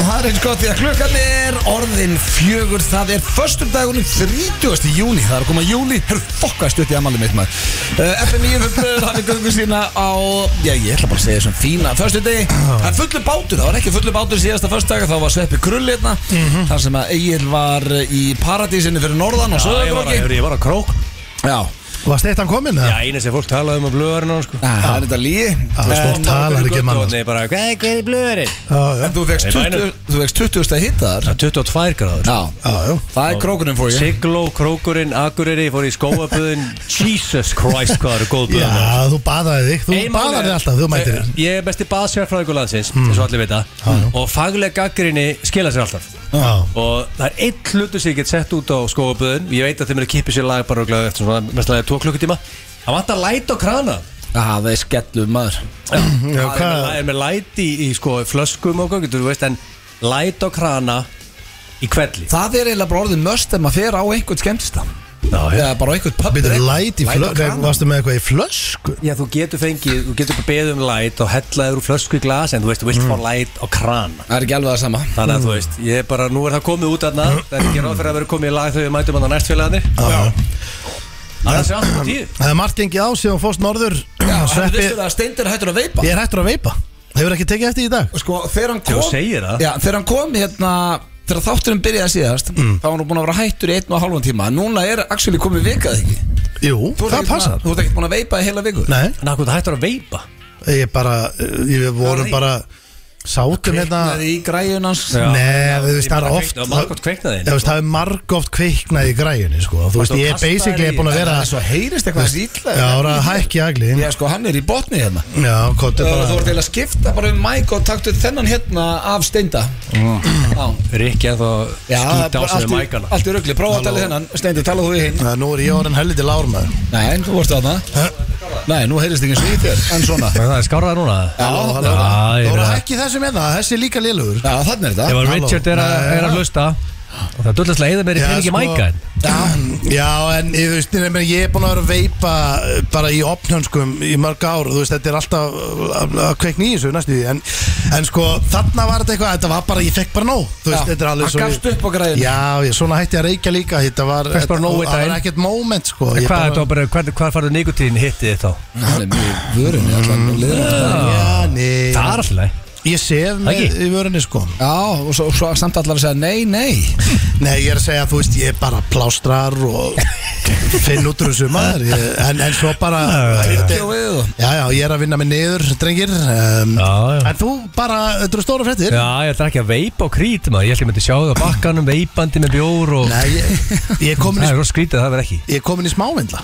Það er eins gott því að klukkan er orðin fjögur Það er förstum dagunum 30. júni Það er að koma júli Herru, fokk að stutti amalum eitt maður uh, FM 900 hafið göngu sína á Já, ég ætla bara að segja þessum fína Förstum degi, það er fullu bátur Það var ekki fullu bátur síðasta föstudaga Þá var Sveppi Krull hérna Þar sem að Egil var í paradísinu fyrir norðan og Já, ég var, söðurkróki ég, ég var að krók Já, Var steyttan komin? Já, eða? eina sem fólk talaði um að blöðurinn á hann, sko það er þetta líi Það er stórt talar ekki um annars Nei, bara, hvað er hvað er blöðurinn? Já, já, En þú vext Nei, bænum. 20, þú vext 20. hittar Það er 22 gráður Já, já, já það er krókunum fór ég Sigló, krókurinn, akureyri, ég fór í skóaböðin Jesus Christ, hvað eru góð blöður Já, þú baðaði þig, þú Ein mál baðar er- þig alltaf, þú mætir Hmm. þig Eh, Ég er besti baðsjárfræðingur landsins, eins og allir vita Og fagleg gaggrinni skila sér alltaf Já, Og það er einn hlutu sem ég get sett út á skóaböðin Ég veit að þeim eru að kippa sér lag bara og eftir svona mestlega tvo klukkutíma Það vant að læta á krana Já, það er skellum maður já, Það er með- hvað það er með læti í, í sko, flöskum og gangi, þú veist En læta á krana í kvelli Það er eiginlega bara orðið möst ef maður fer á einhvern skemmtistam Já, Eða bara á einhvern pub Býtur eða læt eitthvað. í flösku, á nei, kranann. varstu með eitthvað í flösku? Já, þú getur fengið, þú getur bara beðið um læt og hellaður úr flösku í glas en þú veist, þú vilt fá læt á krana Það er ekki alveg það sama Þannig að þú veist, ég er bara, nú er það komið út aðna Það er ekki ráð fyrir að vera komið í lag þegar við mætum hann á næstfélagarnir Já Annars er allt á tíu Það er margt gengið á síðan fórst norður Það Sveppi, vissur það að Steindir hættur að veipa ég er hættur að veipa Hefur ekki tekið eftir í dag? Sko, þegar hann Þegar kom þú segir það. Já, þegar hann kom hérna Þegar þátturinn byrjaði síðast Mm. Þá var hann búin að vera hættur í einn og halvan tíma En Núna er actually komið vikað ekki Jú, Þú ert ekkert það búin að- passar Þú ert ekkert búin að veipa í heila viku Nei, En akkur það hættur að veipa ég bara, ég við vorum Nei. bara Sátum hérna Það er í græjunans Já. Nei, þú veist, það er oft Það er margótt kveiknaði Þú veist, það er margóft kviknað í græjunni, sko Þú veist, þú ég er kastaðir basically í- búin að Það vera er svo heyrist eitthvað þessi illa Já, það er að hækki agli Já, sko, hann er í botni hérna Já, kottu Þú þú bara ert eiginlega að skipta bara um mæk og taktu þennan hérna af steinda Já, Rikki að það Já, skýta Mm. á bara sig allt með í- mækana allt í rugli, prófa að tala í þennan Steindi, tala þú í hinn Já, Nú er ég orðin helviti lármaður Nei, þú vorst aðna Nei, nú heyrist ekki eins og í þér En svona Það er skárað núna Já, Halló, Já, ég Þú voru meina- ekki þessum hérna, þessi er líka lélugur Já, þannig er Ef þetta að Halló. Richard er að, er að hlusta og Það er dullaslega eða meiri Já, peningi sko. mæka en Já, en ég, þú veist, ég, meina, ég er búin að vera að veipa eh, bara í opnjönskum í mörg ár Þú veist, þetta er alltaf eh, að að kveikna í þessu næstu því en, en sko, þarna var þetta eitthvað, þetta var bara, ég fekk bara nóg Þú veist, Já, þetta er alveg hann gafst upp á græðinu. Já, ég, svona hætti ég að reykja líka, þetta var Fékkst bara nóg í þetta- Það daginn. var ekkert moment, sko En Ég Hvað bara- er þetta bara, hvað, hvað farðu nikotín hitti þið þá? Ah, Hann er mjög vörun í allan Mm. og liðin eftir það. Já, nei Það er alltaf Ég sef með Ekki? í vörunni, sko Já, og svo, svo samt allar að segja nei, nei Nei, ég er að segja að þú veist, ég er bara plástrar og finn út úr þessu maður ég, en, en svo bara Já, við þú. Já, já, ég er að vinna mig niður, drengir um, Já, já. En þú bara, þetta eru stóra fréttir Já, ég ætla ekki að veipa og krít maður Ég ætla að myndi sjá þið á bakkanum, veipandi með bjór og Nei, ég, ég, er komin Það í, er rosa skrítið, það verð ekki ég er komin í smávindla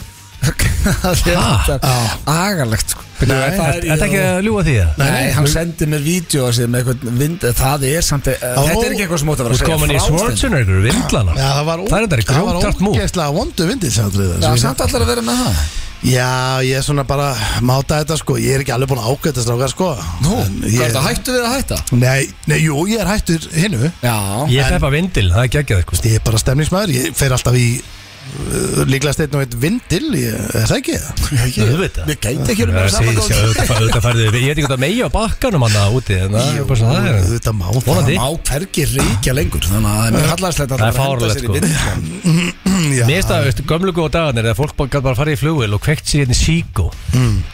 Það er Ha? þetta Já. agalegt sko. Nei, Það Er þetta ekki að ljúa því það? Nei, hann sendi mér vídeo sem eitthvað vind, það er samt uh, þetta er ekki eitthvað sem ótt að vera að Þú ert segja komin í frá, Steindi. Schwarzenegger, vindlana Já, það var, ó- Það er þetta það var grjótart múl ógeðslega vondu vindið samt við Já, þessu. samt allar að vera með það Já, ég er svona bara máta þetta sko Ég er ekki alveg búin að ágæta strákar sko Nú, En hvað er þetta, hættu við að hætta? Nei, nei, jú, ég er hættur hinnu Já, Ég peppa vindil, það er geggjað sko. eitthvað Ég er bara stemningsmæður, ég fer alltaf í uh, líklega steinn og eitt vindil ég, er það ekki Auðvitað við gæti ekki verið með Það segir saman sér, auðvitað fa- auðvitað færðu Ég veit ekki hvað megi á bakkanum hann úti en Það er bara svona það er Þetta má Vonandi. má hvergi reykja lengur þannig að það er mjög hallarslegt að Það er fara að henda fáránlegt, sér í sko. vindil. Já, Mér staði, veist, gömlu góða dagarnir Þegar fólk bara gæti bara að fara í flugil og kveikt sér hérna í síkó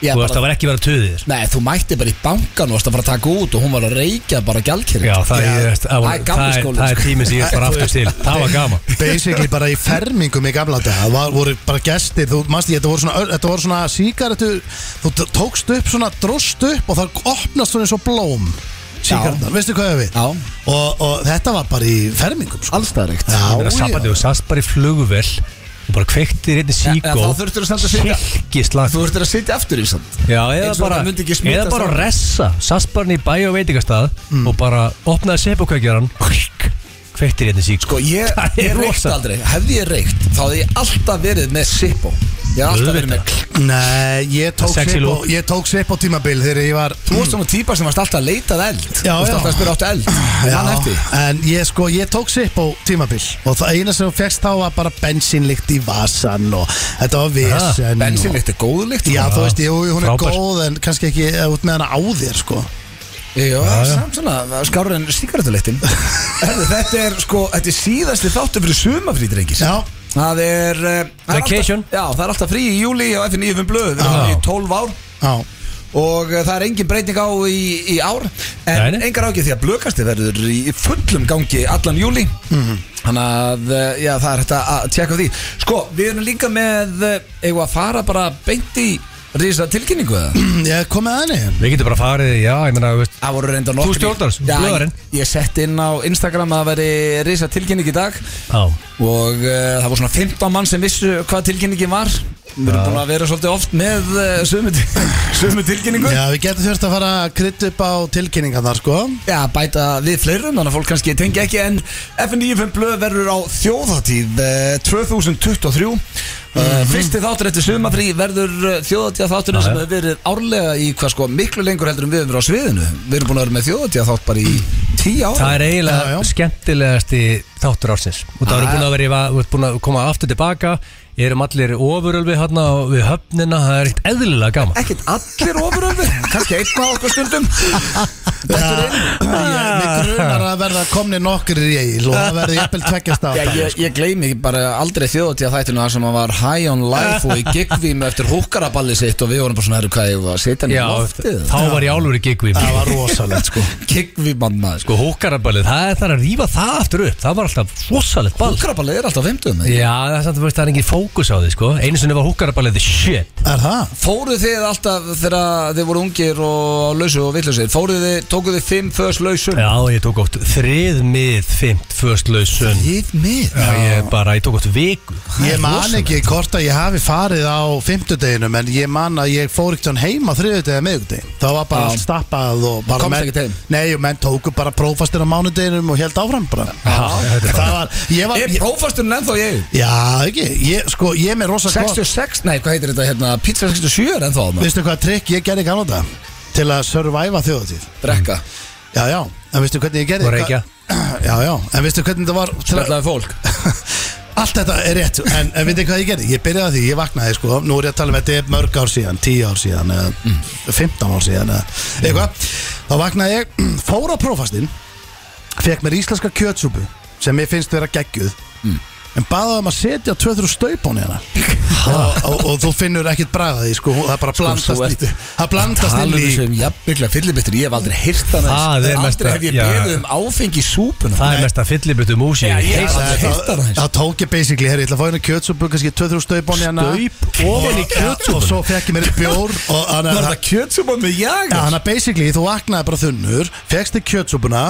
Já, Þú veist, bara- það var ekki verið töðir Nei, þú mætti bara í bankan og varst að fara að taka út og hún var að reykja bara gjaldkerri Já, það Já. er, veist, það Það var- er gamli það er skólinn, það er sko. tíminn sem ég bara aftur til Það var gaman Basically bara í fermingum í gamla dag Það var- voru bara gestir, þú manst ég, þetta voru svona, þetta voru svona síkaretu Þú t- tókst upp svona, dróst upp og það opnast svona eins og blóm Síkaretan, veistu hvað ég við? Já. Og, og þetta var bara í fermingum sko. Allstæðrikt Já, Það er já. sambandi og sast bara í flugvel og bara kveiktir hérna í Já, já, síkó þá þurftirðu samt að sitja. Silkislag Þú ertur að sitja aftur í samt Já, eða Eins og bara, það myndi ekki smita eða bara saman. Mm. ressa Sassbarn í bæ og veitingastað Og bara opnaði sepokvækjaran Kveiktir hérna í sík Sko, ég, Það er ég reykt rosa. aldrei Hefði ég reykt, þá hefði ég alltaf verið með Sippo Ég er alltaf verið með kl- Nei, ég tók, Sexy svip á, look. ég tók svip á tímabil þegar ég var Þú varst svona típa sem varst alltaf að leita að eld Þú varst Já, já. alltaf að spyrja áttu eld Hann eftir því. en ég sko, ég tók sipp á tímabil og það eina sem þú fegst þá var bara bensínlikt í vasan og þetta var vesen Ah, Bensínlykt er góðlykt Já, sko. þú veist, jú, jú, hún er Frábært. eh, góð en kannski ekki út með hana á þér, sko Já, samt svona skárur en sigarettuleittin Þetta er sko, þetta er síðasti þáttu fyrir sumafrí drengir Já. Það er eh, það er alltaf- Vacation. Já, það er alltaf frí í júli á FNF blöð Við erum Já. það í 12 ár Já, og eh, það er engin breyting á í, í ár Nei, en nei. engar ágjör því að blökasti verður í fullum gangi allan júli þannig að eh, já, það er hægt að- að tjekka á því sko, við erum líka með eh, eigum við að fara bara beint í risa tilkynningu eða? ég kom með henni Við getum bara farið, já, ég meina, veist það voru reynda nokkur stjórnar, blöðarinn. ég sett inn á Instagram að það veri risa tilkynning í dag Já, og uh, það voru svona 15 mann sem vissu hvað tilkynningin var við erum búin að vera svolítið oft með uh, sömu, sömu tilkynningu Já, við getum þurft að fara að krytta upp á tilkynninga þar sko Já, bæta við fleirum, þannig að fólk kannski tengi ekki en FN95 blöð verður á þjóðatíð eh, 2023 mm Fyrsti þáttur eftir sumafrí verður þjóðatíða þátturinn Mhm. Já, sem já. hefur verið árlega í hvað sko miklu lengur heldur en við höfum verið á sviðinu Við erum búin að vera með þjóðatíða þátt bara í 10 ára það er eiginlega Já, já. skemmtilegasti þáttur ársins og það Já, eru búin já. að vera, við erum búin að koma aftur tilbaka erum allir ofurölvi hérna og við höfnina, það er eitt eðlilega gaman Ekkert allir ofuröfðu, kannski einn á okkur stundum Þetta er inn Ég- Mig Ah. grunar að verða komni nokkur í eil og það verði jafnvel tveggjast á Já, ég, ég gleymi bara aldrei þjóðatíða þættinu þar sem hann var high on life og í gigvímu eftir húkaraballi sitt og við vorum bara svona, herru, hvað ég var að setja hann í Já, loftið þá var ég álur í gigvim Það var rosalegt sko Kikvi manna sko. Sko hókaraballið, það er það er að rífa það aftur upp Það var alltaf svosalegt ball Húkaraballið er alltaf 50 yeah. Já, það er samt að veist, það er engin fókus á því sko Einu sinni var hókaraballið the shit Er það? Fóruð þið alltaf þegar þið voru ungir og lausu og villusir Fóruð þið, tókuð þið fimm föðs lausum Já, ég tók átt þriðmið fimt föstlausun Þið mið Já, ég bara, ég tók átt viku Ég man ekki hvort að ég hafi farið á fimmtudeginum en ég man að ég fór ekkert heim á þriðudegi að miðugdegin Það var bara Já. allt stappað og bara Komst menn- ekkert heim? Nei, og menn tóku bara prófastir á mánudeginum og held áfram bara Það var, ég var Er ég, prófasturinn ennþá ég? Já, ekki, ég, sko, ég er með rosa gott 66, nei hvað heitir þetta hérna Pizza 67 er ennþá að Veistu hvað trikk ég gerði kannan þetta? Til að surviva þjóðatíð drekka Já, já, en veistu hvernig ég gerði Og reykja. Hva- Já, já, en veistu hvernig þetta var til að- Spjallaði fólk Allt þetta er rétt En, en veitu hvað ég gerði? Ég byrjaði að því, ég vaknaði sko Nú er ég að tala um þetta er mörg ár síðan, 10 ár síðan eða 15 ár síðan eða eitthvað Þá vaknaði ég, fór á prófastinn Fekk mér íslenska kjötsúpu Sem ég finnst vera geggjuð En baðaði um að setja tvöður staup á henni hana og, og, og þú finnur ekkit bragðið sko, hún- það bara þú blandast ert- í Það blandast inn Talur í sem jafnbyggla fyllibittur um Ég hef aldrei hýrt hana Það er mesta- Aldrei hef ég já. beðið um áfengi í súpuna Það er mest að fyllibutu músi Já, ég- Heilt aldrei heyrt Það hana eins. það tók ég basically, herri, ég ætla að fá henni kjötsúpu kannski 2-3 staup á henni Staup ofan í kjötsúpuna? Og svo fekk ég mér einn bjór og þannig Var að- þetta kjötsúpa með jagast? Já, þannig að basically, þú vaknaði bara þunnur Fekst þig kjötsúpuna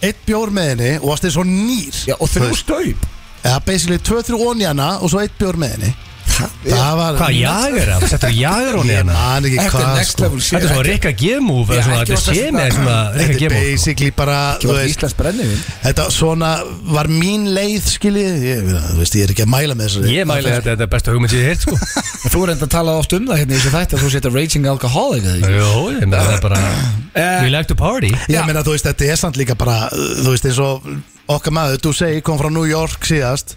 Eitt bjór með henni og varst þig svo nýr Já, og Þú þrjú veist, staup Já, basically, 2-3 onni hana og svo eitt bjór með henni Það var Hvað, jager það? Settur jager hún í Ég hana? man ekki Þetta er hvað next sko. level shit. Þetta er svona Rikka G-move eða Já, svona, ekki Þetta er var þess- séni svona Rikka Þetta er G-move sko. basically bara Ekki þú var veist, Íslands brennivinn Þetta svona var mín leið skiljið Ég, þú veist, ég er ekki að mæla með þessari Ég mæli þetta, þetta er besta hugmynd sem ég heilt sko Þú er enda að tala oft um það hérna í þessu þætti að þú setja raging alcoholic eða ekki? Jó, ég meina, það er bara We like to party Ég Já. meina þú veist þetta er samt líka bara uh, Þú veist eins og okkar maður Þú segi kom frá New York síðast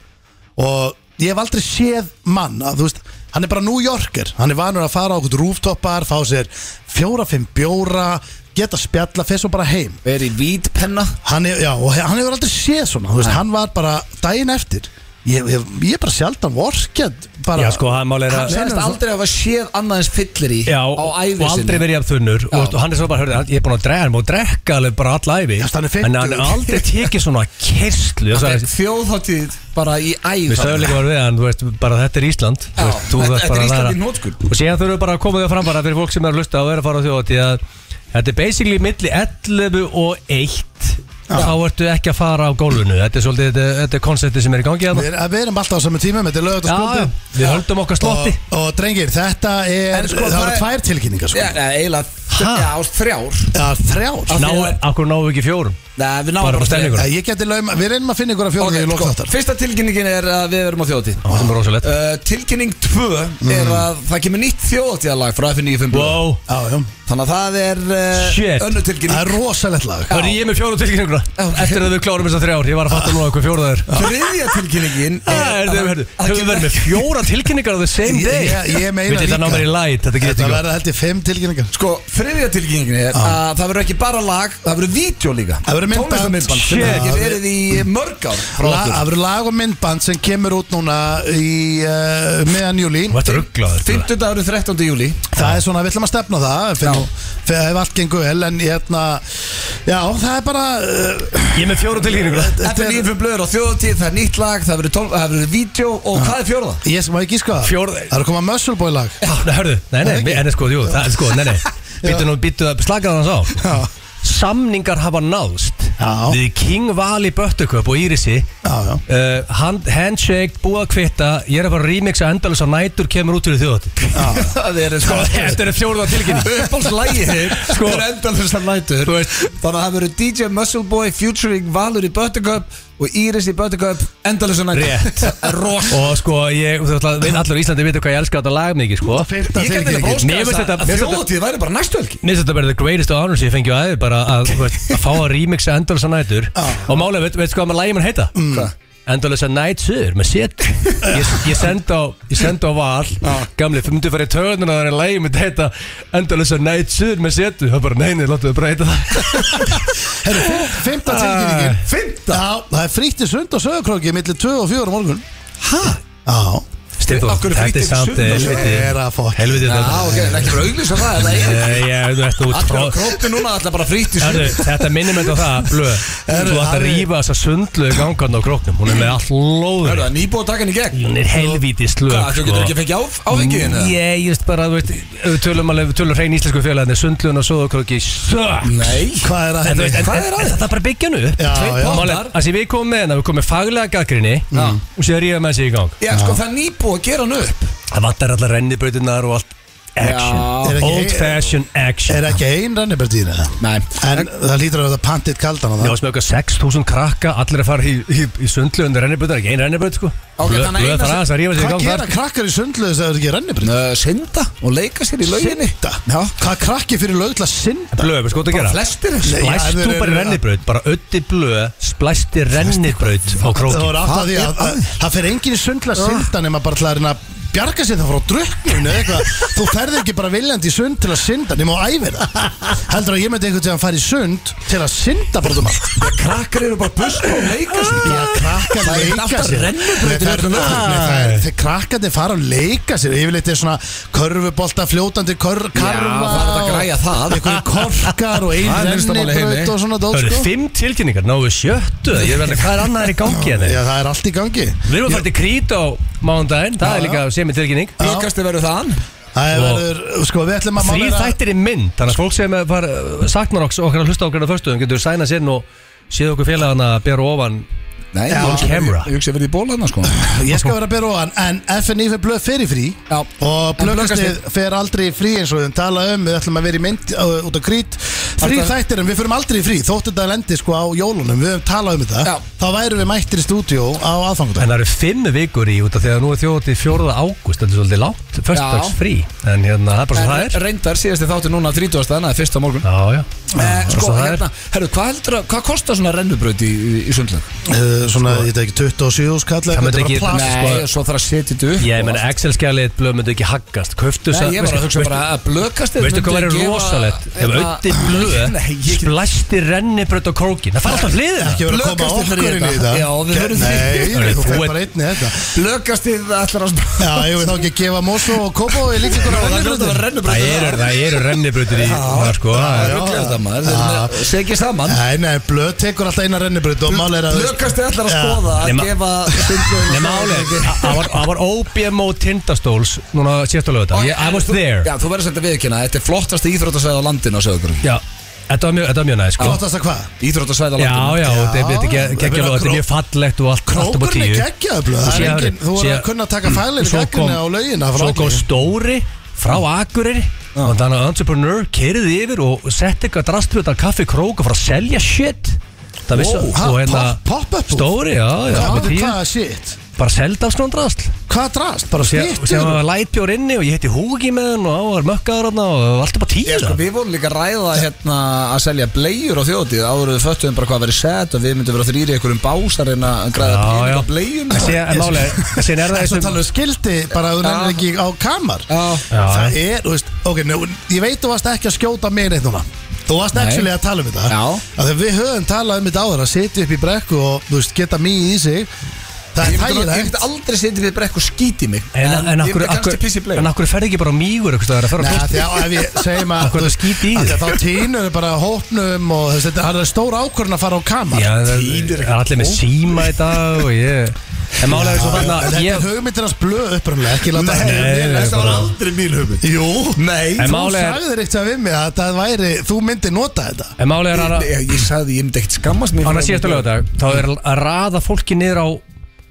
Og ég hef aldrei séð mann að, Þú veist hann er bara New Yorker Hann er vanur að fara á okkur rúftoppar Fá sér fjóra-fimm bjóra Geta spjalla fyrst og bara heim Er í vítpenna hann, er, já, og he- hann hefur aldrei séð svona Þú veist hann var bara daginn eftir Ég, ég, ég er bara sjaldan vorkjad bara, Já, sko, hann máli er Hann að segist aldrei að hafa séð annað eins fyllir í Já, á og ævi aldrei sinni verið af þunnur Já. og hann er svo bara, hörðu, hann- ég er búin að drekka hann og drekka alveg bara all ævi Já, hann er en hann er 50. aldrei tekið svona kerslu Þetta er þjóðháttíð bara í ævi Við sögum líka bara við hann, þú veist, bara þetta er Ísland Já, þú veist, þú þetta- þarft þetta bara er að Ísland læra- í hnotskurn. Og síðan þurfum við bara að koma því að fram bara fyrir fólk sem er að hlusta og er að fara á þjóðatíð að þetta er basically milli 11 og 1 þá ertu ekki að fara á gólfinu þetta er svolítið, þetta, þetta er konceptið sem er í gangi að við, erum- við erum alltaf á saman tíma Þetta er lögat og Já, já, við höldum okkar slotti og, og drengir, þetta er En sko, Það það eru er- tvær tilkynningar sko. Já, nei, eiginlega Ha? Já, þrjár Það er þrjár Af því að- Akkur náðu ekki fjórum Nei, við náum Bara bara stemningur. Eh, Ég geti laum, við reynum að finna ykkur að Ok, fjóða okay, í sko, lóksáttar Fyrsta tilkynningin er að við verum á þjóðatíð Það er rosalegt uh, Tilkynning 2 er að það kemur nýtt þjóðatíðalag frá F95 Wow Já, já Þannig að það er Shit. uh, önnu tilkynning Það er rosalegt lag Það er ég er með fjóru tilkynninguna Ok. Eftir að við klárum þessar þrjár Ég var að fatta núna hvað fjóra það er Þriðja tilkynningin Það er það, hörðu að- Hefur við verið með fjóra tilkynningar á the same Ég- day ég- ég meina Við þetta líka. ná mér í light Þetta getur Þetta ekki verða held ég fimm tilkynningar Sko, þriðja tilkynningin er að það verður ekki bara lag, það verður vídeo líka Það verður myndband. Tónlistarmyndband sem Shit. hefur ekki verið í mörg ár frá La- okkur Það verður lag og myndband sem kemur út núna í uh, meðan júli Þú ert sko. rugglaður 50. árið 13. júli Það er svona, við ætlum að stefna á það Já. finn- fe- Ef allt gengur vel En ég hérna Já, það er bara uh, Ég er með fjóra tilkynninguna Þetta er lífum blöður á þjóðatíð, það er nýtt lag, það verður tón- það verður vídeo og hvað er fjórða? Ég sem má ekki sko Fjórða- Það er að koma Muscle Boy lag Já, Ah, nei, hörðu, nei, Það er nei, ekki. en sko, jú, það er sko, nei, nei Býttu nú, býttu, slakaðu hans á Já. Samningar hafa náðst Já. Við King Vali Böttuköp og Írisi Já, já. Uh, hand, Handshake, búa kvitta Ég er að fara að remixa endalus á nætur Kemur út fyrir þjóðat Það er sko Þetta er fjóruða tilkynning uppáhaldslægir Sko. sko. er endalusar nætur Þú veist. þannig að það verður DJ Muscle Boy featuring Valur í Buttercup og Iris í Buttercup endalusar nætur Rétt. Rosa. Og sko, ég, þú veist, við allir í Íslandi veitum hvað ég elska þetta lag mikið, sko Fimmta ég gæti tilkynningin. þetta Mér finnst bróska þetta- að mér finnst þjóðatíð væri bara næstu helgi Mér finnst þetta bara the greatest honor sem ég fengi á æði bara að, þú veist, að fá að remixa endalus á nætur Og málega, veit, veit sko hvað maður lægir mann heita? Hvað? Endalösa nætsur með set Ég, ég sendi á, ég sendi á val Gamli, þú myndir fara í töðunum að það er lægi Myndi heita endalösa nætsur með setu Það er bara, neini, láttu þau bara heita það Herru, fimm- fimmta tilkynningin Fymta Já, það er frítti sund og sögurkróki Millir 2 og 4 á morgun Hæ? Já Stefán, Af hverju þetta frítt er er samt sunnudagur? Helviti, Ég er að fokk. helviti Já, þetta ok, en ekki bara auglýsa það það er Eh, ég- Þú ert nú Allir á tróð krópi núna, allir bara frítt í Herru, sunn þetta minnir mig þetta á það, blöð Þú ætti að Ari- rífa þessa sundlu gangan á króknum Hún er með allt Hörru, lóður það er nýbúið að taka henni í gegn Hún er helviti slög Hvað, þú getur ekki fengið áf- áfengið henni? eða? Ég, ég veist bara, þú veist ef Við tölum alveg, við tölum hrein íslensku félagin Sundlun og sóðokröki Sök Nei Hvað er að En, þú veist, en, Hvað en, er að en þér? þetta er bara byggjan upp Já, já. Málega, Það sem við komum með hérna, við komum með faglega gaggrinni og sér ég að með sig í gang Já, sko, það er nýbúið að gera hann upp Það vantar allar rennibrautirnar og allt Já. Er action, ekki- old fashion action Er ekki ein renniberdíðin eða? Nei. En það lítur að þetta pantið kaldan á Ég það var sem eitthvað 6.000 krakka, allir að fara í, í, í sundlu undir rennibrautar, ekki ein rennibraut sko Ok, þannig Blöð- að blöð eina þar sem- aðeins að rífa sig í Hvað gang gera þar krakkar í sundlu þess að það er ekki rennibrið? Ö, Synda og leika sér í lauginni Synda? Hvað krakki fyrir lög til að synda? Blöð, veist hvað það gera? Flestir er Nei, Splæst já, þú þeir bara í eru- rennibraut, bara öddi blöð, splæst í rennibraut á Það króki voru alltaf Hvað því er að, að- að það fyrir enginn í sund til að synda nema bara til að reyna að bjarga sér það frá druknun eða eitthvað Þú ferði ekki bara viljandi í sund til að synda nema á æfir Heldur að ég myndi einhvern tíðan fara í sund til að synda bara um allt Krakkar eru bara busk og leika sér Já, krakkar Það er leika alltaf um sér rennibrautir Nei, það er- öllum öðrum. Nei, það er- þeir Krakkarnir fara að leika sér Yfirleitt er svona körfubolta fljótandi kör, karfa það er hægt að græja það. Einhverju korkar og Það er ein minnsta máli í heimi. rennibraut og svona Það dót eru sko fimm tilkynningar, náðu sjöttu Ég verður hvað er annað er í gangi henni Já, það er allt í gangi Við erum að fara til Krít á mánudaginn, það Já, er líka semi tilkynning Líkasti verður þaðan Það Og- verður, sko, við ætlum að Þrý málera- þættir í mynd, þannig að fólk sem er bara, uh, saknar okkar, okkar að hlusta okkar á föstuðum getur sæna sér og séð okkur félagana að bera ofan Nei, Já. ég hugsa- Camera. Ég hugsa að verði í bólana sko Ég skal vera að byrja ofan En FNI fyrir blöð fer í frí Já. Og En Blöðkastið- blöðkastið fer aldrei í frí eins og við höfum talað um Við ætlum að vera í mynd uh, út á krít Þrý Alltaf- þættir en við förum aldrei í frí Þóttu þetta lendi sko á jólunum Við höfum talað um þetta Já. Þá værum við mættir í stúdíó á aðfangudag En það eru fimm vikur í út af því að nú er þjóðið 4. ágúst, þetta er svolítið lágt, föstudags frí En hérna, það er bara svo það En er Reyndar síðasti þáttu núna 30. þannig að fyrst á morgun Já, já Eh, Sko, Svo það er. hérna, herru, hvað heldur að, hvað kostar svona rennubraut í, í- í sundlega? uh, Svona, ég veit ekki, 27 skall Sko- Það myndi ekki- plast, Nei, sko. Nei, svo þarf að setja þetta upp Ég og meina, allt. Excel-skjalið blöð myndi ekki haggast Kauftu Nei, ég var að hugsa bara að blökast Veistu hvað væri rosalegt Ef ötti blöð Nei, ég splæsti rennibröð á krókin Það fara alltaf Ekki Blöðkastirnir í hliðið verið að koma okkur inn í þetta. þetta Já, við höfum því. Nei, Nei, þú þú fer ert- bara inn í þetta blökast þið allar að Já, ég vil þá ekki gefa Mosó og Kobo Ég líka ykkur á rennibrautum. Það eru- það eru rennibröðir í það sko það er- blökast Segir saman Nei, nei, blöð tekur alltaf eina rennibraut og mál er að Blökast þið allar að Já. skoða að Nema- gefa Nei, málið, það var- það var OBMO tindastóls núna síðasta lögðu þetta, I was there Já, þú verður svolítið að viðkynna Þetta er flottasta íþrótasvæð á landinu að segja okkur Já, þetta var mjög, þetta var mjög næst sko Flottast að hvað? Íþrótasvæð á Já, landinu já, þetta er- þetta er Ég geggjum meina, og þetta er kró- mjög fallegt og allt allt upp á Krókurinn tíu er geggjaður blöð Og Það er síðan- engin, þú voru að síðan- kunna að taka fælir í svo gaggrinni kom- á laugina frá Svo Agli. kom stóri frá Akureyri og þannig að entrepreneur kerði yfir og setti eitthvað drastfjöldar kaffi krók og fór að selja shit Það vissi Wow, og ha, hérna pop- pop-up búð? Stóri, já, já Hvað, með betur, tíu. hvað shit? Bara selda af svona drasl Hvað drast? Bara Sem stýttur? sem var lightbjór inni og ég hétti húgi með hann og á var mökkaður hann og allt upp á tíu Ég, sko, við vorum líka að ræða hérna, að selja bleiur á þjóðtíð áður en við föttum bara hvað verið sett og við myndum vera þrýri einhverjum básar en að græða pening á bleium Síðan málega, síðan er það Það er sko- svo að þessum tala um skildi bara að þú nefnir ekki á kamar Já. Það er, þú veist, ok, nú, ég veit þú varst ekki að skjóta mig neitt núna Þú varst actually að tala um þetta Já. Af því að Við höfum talað um þetta áður að setja upp í brekku og þú veist, geta mýið í sig Ég Það er myndi ég þægilegt myndi aldrei setja við brekk og skíti mig En, en, en, ég akkur, myndi kannski pissi í akkur, bleiu en akkur ferði ekki bara á mígur eitthvað að fara Nei, á af klostið? því að ef ég segjum að Akkur þú er veist, skít í af því þig? að Þá tínur bara hópnum og þú veist, þetta það er stór ákvörðin að fara á kamar Já, Tíðir ekki það er allir með bók. síma í dag og ég En málega svo En þarna Þetta er ég- hugmyndirans blöð upprunlega Ekki láta Nei, nei, Þetta var bara- aldrei mín hugmynd Jú, Nei, En þú málið er- sagðir eitthvað við mig að það væri Þú myndir nota þetta En málega er að ég, ég sagði ég myndi ekkert skammast mér Þannig að síðastu lögadag Þá er að raða fólki niður á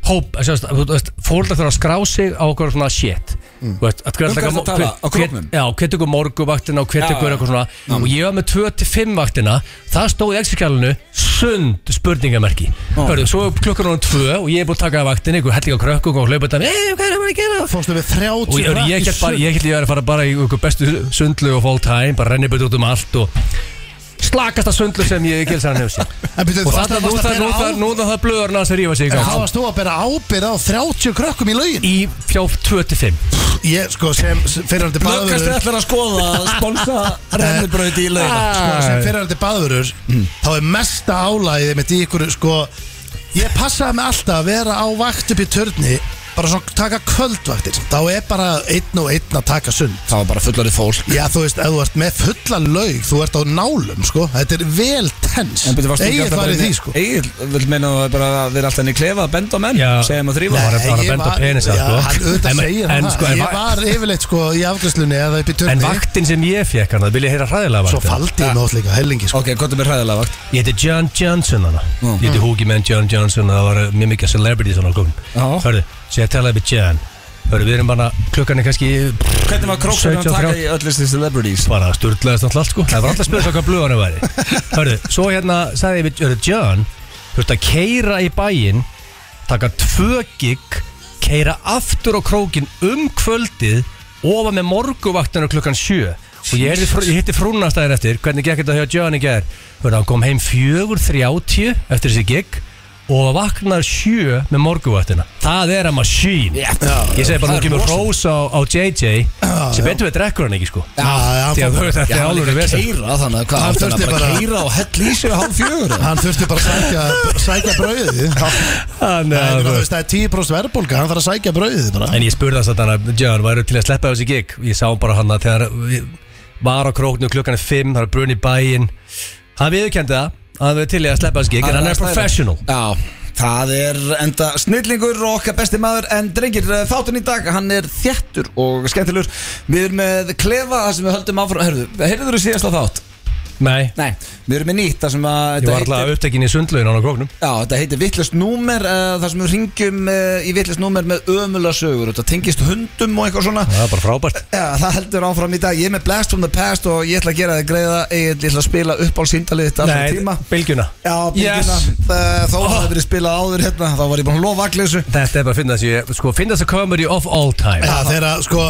hóp sérst, þú veist, Fólk þarf að skrá sig á okkur svona shit mm. veist, að hver Um hvað taka ertu að mo- tala? hver- Á króknum? hver- Já, hver tekur morguvaktina og hver Já, tekur já, eitthvað svona Og ég var með 2-5 vaktina Það stóð í exilkjálunu sund spurningamerki Hörðu, svo er klukkan orðin 2 og ég er búin að taka vaktin Einhver helling á krökkum og hlaupa þetta Ei, hvað er það að gera? Fórstu við 30 og ég, ég, ég, rakk í hélt bara, sund? ég held ég var að fara bara í ykkur bestu sundlu og full time, bara renni betur út um allt og slakasta sundlu sem ég gils hann hefur sér En byrju, og þú varst þarna að- nú varst að það, bera nú það, á- nú það, það blöður hans að rífa sig í Þá gang varst þú að bera ábyrð á 30 krökkum í laugin í fjá 25 Ég sko sem Blökkast fyrirhaldi baðurur ætlar að skoða að sponsa rennibröði í laugina Ah. sko, sem fyrirhaldi baðurur þá er mesta álæðið mitt í ykkur sko ég passaði mig alltaf að vera á vakt upp í törni bara svona taka kvöldvaktir þá er bara einn og einn að taka sund Það var bara fullarið fólk Já, þú veist, ef þú ert með fulla laug, þú ert á nálum, sko Þetta er vel tens En betur varstu ekki Egið alltaf bara farið því, inni- sko Egil, vil meina að það er bara að vera alltaf inn í klefa að benda á menn, Já. segja maður þrýfa Nei. var að fara að ég benda á var- penisa, Já, sko. hann En- auðvitað segir en hann sko, það en Ég va- var yfirleitt, sko, í afgræslunni eða upp í en törni vaktin sem ég fekk hann, það vil ég heyra hræðilega Svo vaktin faldi ég nátt líka, hellingi, sko Ok, hvað er mér hræðilega vakt? ég heiti John Johnson hann ég heiti Hoogie Man John Johnson og það var uh, mjög mikið celebrity svona okkur Já. hörðu, svo ég talaði við John hörðu, við erum bara, klukkan er kannski Hvernig var krókurinn að 17.30? taka í öllist í celebrities? bara sturglaðist alltaf allt sko það var alltaf að spyrja svo hvað blöðanum væri hörðu, svo hérna sagði ég við hörðu, John þú ert að keira í bæinn taka tvö gig keira aftur á krókin um kvöldið ofa með morguvaktinu klukkan sjö og ég, heyrði frú, ég hitti frúnastæðir eftir hvernig gekk þetta hjá John í gerð hörðu, hann kom heim fjögur þrjátíu eftir þessi gig og vaknar sjö með morguvaktina það er að maskín ég segi bara nú kemur rós á, á JJ sem betur við drekkur hann ekki sko Já, já, hann Því að fór- þú veist þetta er álur í vesen keira þannig að hvað Hann átti hann þurfti að bara bara- keira og hell í sig á hálf fjögur eða? Hann þurfti bara að sækja, sækja brauðið Hann, Nei, þú uh, veist, það er 10% verðbólga, hann þarf að sækja brauðið bara En ég spurði þess að hann að John væri til að sleppa þessi gig Ég sá bara hann að þegar við- var á króknu klukkan er 5 Það er brun í bæinn Hann viðurkendi það að hann verið til í að sleppa þessi gig En hann er professional Já Það er enda snillingur og okkar besti maður En drengir, eh, þátturinn í dag, hann er þjættur og skemmtilegur Við erum með klefa það sem við höldum áfram Herðu, heyrðu þú síðast á þátt? Nei, Nei, við erum með nýtt það sem að ég þetta var heitir- alltaf upptekinn í sundlaugin á króknum Já, þetta heitir vittlust númer uh, þar sem við ringjum uh, í vittlust númer með ömulega sögur Þetta tengist hundum og eitthvað svona Það er bara frábært Já, það heldur áfram í dag Ég er með Blast from the Past og ég ætla að gera þig greiða Ég ætla að spila upp á síndalið þetta alltaf tíma bylgjuna Já, bílgina Yes. yes. Þó oh. það verið spilað áður hérna Þá var ég búin að lofa allir þessu Þetta er bara að finna þessi Sko, finna þessi comedy of all time Já, þegar að, sko,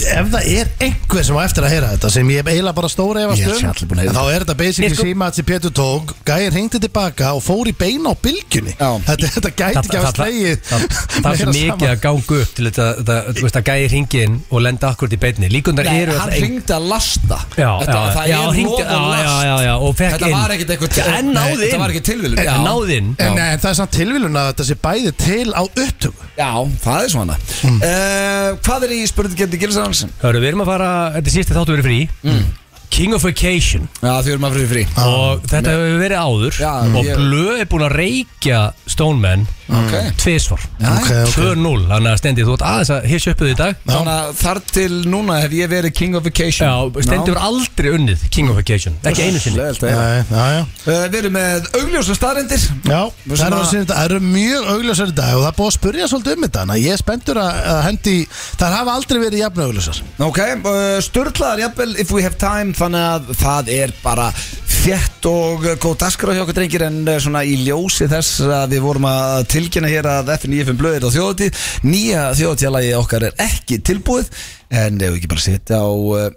ef það er einhver sem á eftir að heyra þetta sem ég hef eiginlega bara stóra efast Ég um held sé allir búin að heyra en þá er þetta basically Ég sko- síma að sem Pétur tók gæði hringdi tilbaka og fór í beina á bylgjunni Já. þetta, þetta gæti Það- ekki að það- slegið það- Það er meira svo mikið saman. að ganga upp til þetta, þetta þú veist, að gæði hringin og lenda akkurat í beinni Líkundar Nei, eru hann ein- ringdi að lasta Já, þetta, já, Það já, er hringdi- lofa já, last já, já, já, og fekk Þetta inn. var ekkert eitthvað Já, en náði Þetta inn. var ekki tilviljun En Já. náði inn. en, Já. en það er samt tilvílun að þetta sé bæði til á upptöku Já, það er svona Mm. Eh, Hvað er í spurning getur Gils Arnsen? Hörru, við erum að fara, þetta er síðasti þáttu verið frí Mm. King of Vacation Já, því erum að fyrir frí og þetta hefur verið áður Já, og ég- Blö er búin að reykja Stoneman Ok. tvisvar Ok, ok. 2-0, þannig að Stendi, þú átt aðeins að hissa uppið í dag Þannig að þar til núna hef ég verið king of vacation Já, Stendi var aldrei unnið King of Vacation, ekki einu sinni Leðalt, ja. Nei, já, já. uh, Við erum með augljósa staðrendir Já, Við það svona- eru, að... það eru mjög augljósar í dag og það er búið að spurja svolítið um þetta en ég er spenntur að að hendi það hafa aldrei verið jafn augljósar Ok, uh, sturlaðar eh, jafnvel If we have time þá þannig að það er bara þjætt og eh, góð daskra hjá okkur drengir en eh, svona í ljósi þess að við vorum að tilkynna hér að FNIFM blöð er á þjóðatíð nýja þjóðatíðalagi okkar er ekki tilbúið en ef við ekki bara setja á eh,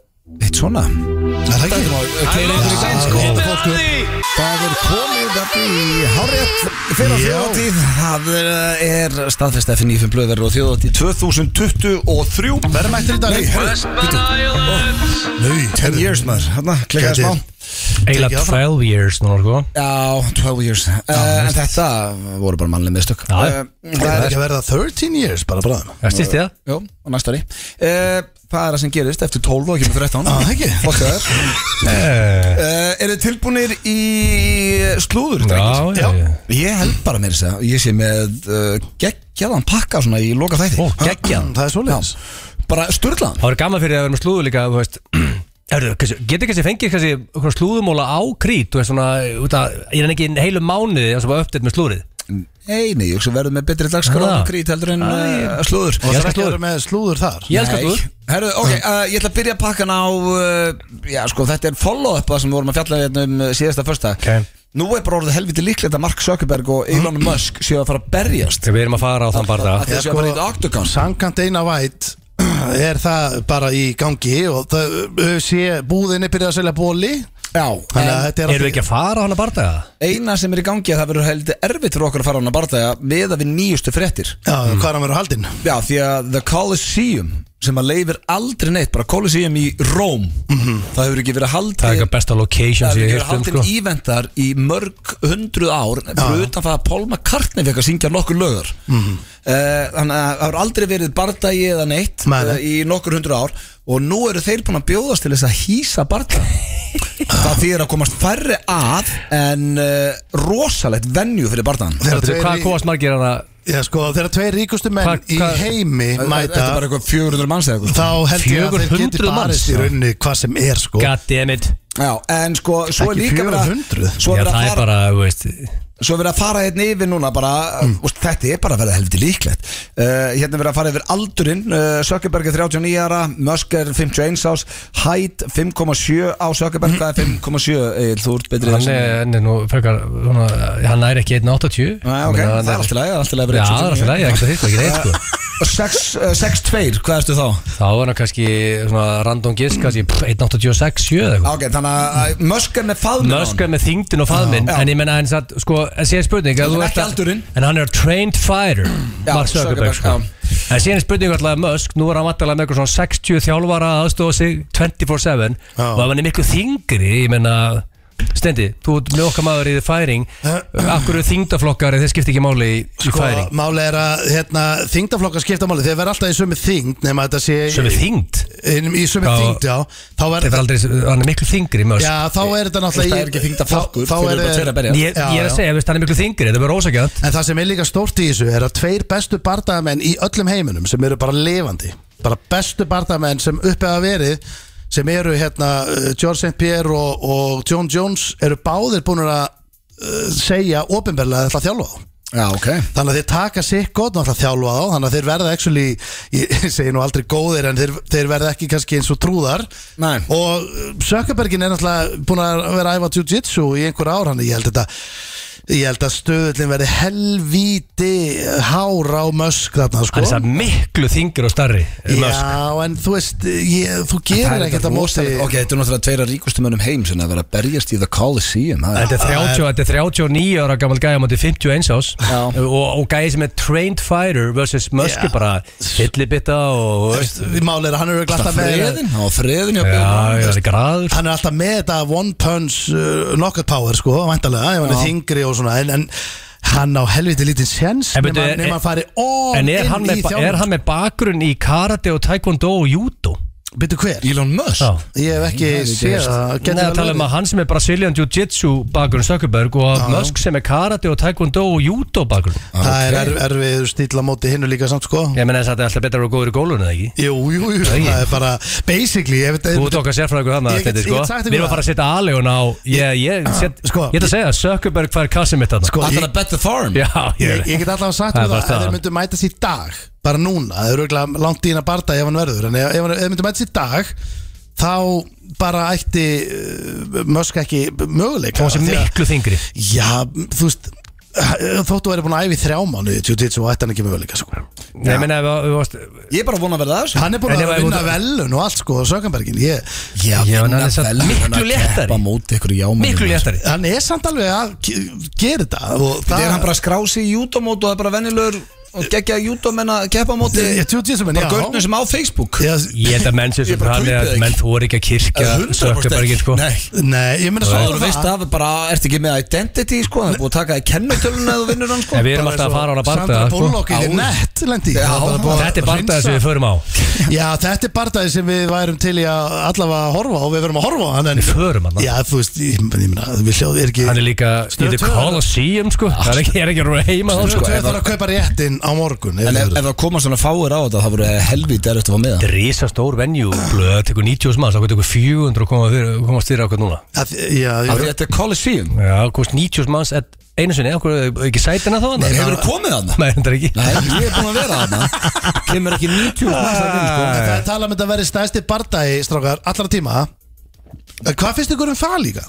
eitt svona Það er ekki Ah, Keira einhver í gang, sko. Það er komið að í hárétt fyrir að Já. þjóðatíð Það eh, er staðfest FNIFM blöð verður á þjóðatíð 2023 Verðum ættir í dag Nei, Bæ Nei, 10 years maður, hérna, klikkaði Gæti. smá Eiginlega 12 years núna, sko Já, 12 years uh, En þetta voru bara mannlega mistök Já, já. uh, Það Það er er ekki að verða 13 years bara bráðum Það stýtti það Jó, á næsta ári uh, Hvað er það sem gerist eftir 12 og Ah, ekki með 13? Já, það ekki. Fokkaður Eh, uh, Eru þið tilbúnir í slúður? drengir? Já, já, já. Ég held bara meira þess að segja. Ég sé með uh, geggjaðan pakka svona í loka þætti Ó, geggjað. Það er svoleiðis Bara sturlaðan Það var gaman fyrir að vera með slúður líka, þú veist Erðu, getur kannski fengið kannski einhverja slúðumóla á krít, þú veist svona, út að, ég er ekki heilu mánuði og svo bara uppdætt með slúðrið. Nei, nei, ég hugsa verður með betri dagskráð Ah. og krít heldur en Ah, uh, slúður Og Ég elska það er ekki að slúður. vera með slúður þar Ég elska Nei. slúður. Herru, ok, uh, ég ætla að byrja pakkan á uh, Já, sko, þetta er follow-up Það sem við vorum að fjalla hérna um uh, síðasta första Ok. Nú er bara orðið helviti líklegt að Mark Zuckerberg og Elon Musk séu að fara að berjast Þegar við erum að fara á þann barða. Að þeir séu að fara í The Octagon Sankant eina væt er það bara í gangi og það ö, sé búðinni byrjað að selja bóli Já, þannig að en þetta er Erum við ekki að fara á hann að barða? eina sem er í gangi að það verður helviti erfitt fyrir okkur að fara á hana barðaga með að við nýjustu fréttir Já, hvað er að vera haldinn? Já, því að The Colosseum sem að leifir aldrei neitt, bara Colosseum í Róm það hefur ekki verið haldið Það er eitthvað besta Það location sem hefur ég verið hefst um, haldin sko. íventar í mörg hundruð ár fyrir utan það að Paul McCartney fekk að syngja nokkur lögur mm Mhm. -hmm. Þannig að það hefur aldrei verið bardagi eða neitt Nei, nei. eh, í nokkur hundruð ár og nú eru þeir búin að bjóðast til þess að hýsa barda Það þýðir að komast færri að en uh, rosalegt venju fyrir bardagan Þegar Þetta er tveir hvað í- komast margir hann að, Já, sko, þegar tveir ríkustu menn Hvað- hvað- í heimi Þetta mæta er bara eitthvað 400 manns eða eitthvað þá held ég að þeir 400 geti manns, barist í já. rauninni hvað sem er sko goddammit. Já, en sko, svo er Ekki líka verið að- 400. Svo Já, er verið það að er fara bara, þú veist, Svo er verið að fara hérna yfir núna bara, Mm. úst, Þetta er bara að verða helviti líklegt uh, Hérna er verið að fara yfir aldurinn uh, Sökkerberg er 39 ára Musk er 51 ás Hætt 5,7 á Sökkerberg Hvað er 5,7? Egill, Þú ert betri í Mm. hann þessu. er, hann er nú frekar, svona, hann næri ekki 1.80. Nei, ok, það er allt í lagi, það er allt í lagi að vera Já, það er alltaf læg, ekki það hitt, ekki neitt, sko. 6,2, uh, hvað erstu þá? Þá er hann kannski, svona, random gisk, kannski pff, 1.86, 7 eða eitthvað. Ok, þannig að Musk er með faðminn á Musk er með þingdin og faðminn Já. en ég menna hann satt, sko, en síðan spurning að En þú ekki ert að- aldurinn. en hann er a trained fighter Já, Mark Zuckerberg, Zuckerberg, sko. en síðan er spurning alltaf að Musk, nú er hann vantarlega með eitthvað svona 60 þjálfara að aðstofa sig 24-7 Já. og ef hann er miklu þingri ég menna, Stendi, þú ert með okkar maður í þið færing af hverju þingdaflokkar þeir skipti ekki máli í, í Sko, færing máli er að hérna, þingdaflokkar skipta máli þeir verða alltaf í sömu þingd nema þetta sé sem er þingd, inn- í sömu Já. þingd, já þá þeir verða verða aldrei hann er miklu þingri Musk Já, þá er þetta náttúrulega Það í- er ekki þingta flokkur þá, þá er, þeir að berja ég, Já, ég er já. að segja, veist, hann er miklu þingri þetta er bara ósakjönd En það sem er líka stórt í þessu er að tveir bestu bardagamenn í öllum heiminum sem eru bara lifandi bara bestu bardagamenn sem uppi að verið sem eru hérna uh, George St. Pierre og, og John Jones eru báðir búin að uh, segja ofinberlega að þetta þjálfa þá Já, ok Þannig að þeir taka sitt gott náttúrulega þjálfa þá Þannig að þeir verða actually, ég segi nú aldrei góðir En þeir, þeir verða ekki kannski eins og trúðar Nei. Og Sökkabergin er náttúrulega búin að vera að æfa jiu-jitsu í einhver ár Þannig ég held þetta Ég held að stöðullin verði helvíti hára á mösk þarna sko hann er samt miklu þingri og starri Musk. Já, en þú veist, ég, þú gerir ekkert að móti rosalegt. Ok, þetta er náttúrulega tveira ríkustu mönnum heim sem að vera að berjast í The Coliseum það er- Þetta er 30 þetta er 39 ára gammal gæja á móti 51 ás Já. og, og gæja sem er trained fighter versus Musk Já. er bara hillibitta og veist, Máli er að hann er alltaf með Freðin, á freðin hjá Já, Bill já, það er graður hann er alltaf með þetta one punch uh, knockout power sko, væntalega ef hann er Já. þingri og svona en, en hann á helviti lítið sjens En nema byrju, nema er- hann fari all En in er hann, í með, er þjálfun hann með bakgrunn í karate og taekwondo og judo? byrju hver, Elon Musk Já ég hef ekki Það er ekki séð veist. það Nei, gæti að vel tala um verið. að hann sem er Brazilian Jiu-Jitsu bakgrunn Sökkuberg og að Musk sem er karate og taekwondo og judo bakgrunn það er erf- erfið stíla móti hinnu líka samt sko Ég menna þess að þetta er alltaf betra að vera góður í gólunum eða ekki jú, jú, jú, Nei. það er bara basically ef Þú þetta ert okkar sérfræðingur hann að Ég get- þetta ég sko get sagt ykkur Við erum að það. fara að setja aðlegun á Ég, ég, set, Sko, ég ætla að segja að Sökkuberg fær kassið mitt þarna sko, Ætlar ég, að bet the farm Já, ég, ég get allavega sagt Það er um það bara að þeir staðan. myndu mætast í dag bara núna, það eru auðvitað langt dýna barda ef hann verður en ef, ef, hann- ef þeir myndu mætast í dag þá bara ætti uh, Musk ekki möguleika Þó hann sé Því að- miklu þingri Já, þú veist Þóttu væri búin að æfa í þrjá mánuði Jiu-Jitsu og ætti hann ekki möguleika sko. Nei, menn ef að- ef að- Ég er bara að vona að verða það sko. Hann er búin En að ef að- vinna velun og allt sko á Sökanbergin ég, Já, Já, en vinna hann er samt vel, miklu hann er að léttari. keppa á móti ykkur sko. jámanum miklu léttari Hann er samt alveg að ge- gera þetta og Það er hann bara að skrá sig í júdómót og það er bara venjulegur og geggja júdómenn að keppa á móti Ég- Jiu-Jitsu menn, bara já. gaurnir sem á Facebook Já, Ég held að menn sér Ég sem bara hann kaupið er að ekki. menn þú er ekki að kirkja Eða 100% Sökkabergin sko Nei Nei, ég meina Svo svo þú veist að bara ert ekki með identity sko, það er búið að taka í kennutölun eða þú vinnur hann sko En við erum alltaf að fara á hana bardaða, Sandra sko. Bullock í Á. nett lendi Já, Þetta er barndað sem við förum á Við Já, þetta er bardaði sem við værum til í að allavega horfa á og við verum að horfa á hann en förum hann Já, þú veist, ég, ég meina, við hljóðum er ekki Hann er líka í Stöð the tvö, Colosseum sko Það er ekki- er ekki að vera heima þá Þú sko þarf að kaupa réttinn á morgun En ef, ef það koma svona fáir á þetta, það voru helvítið erfitt að fá með það Rísa stór venjú blöð, það tekur 90 manns, þá tekur 400 og koma fyrir- komast þér ákveð núna Að- Já, ég- Af því að þetta er Coliseum Já, komast 90 manns et- einu sinni, okkur ekki sætina þá annað? Hefur þú komið þarna? Nei, þetta er ekki Nei, ég er búin að vera þarna Kemur ekki 90 manns þarna inn, sko. En Það er talað um þetta að vera stæsti bardagi strákar allra tíma En Hvað finnst ykkur um það líka?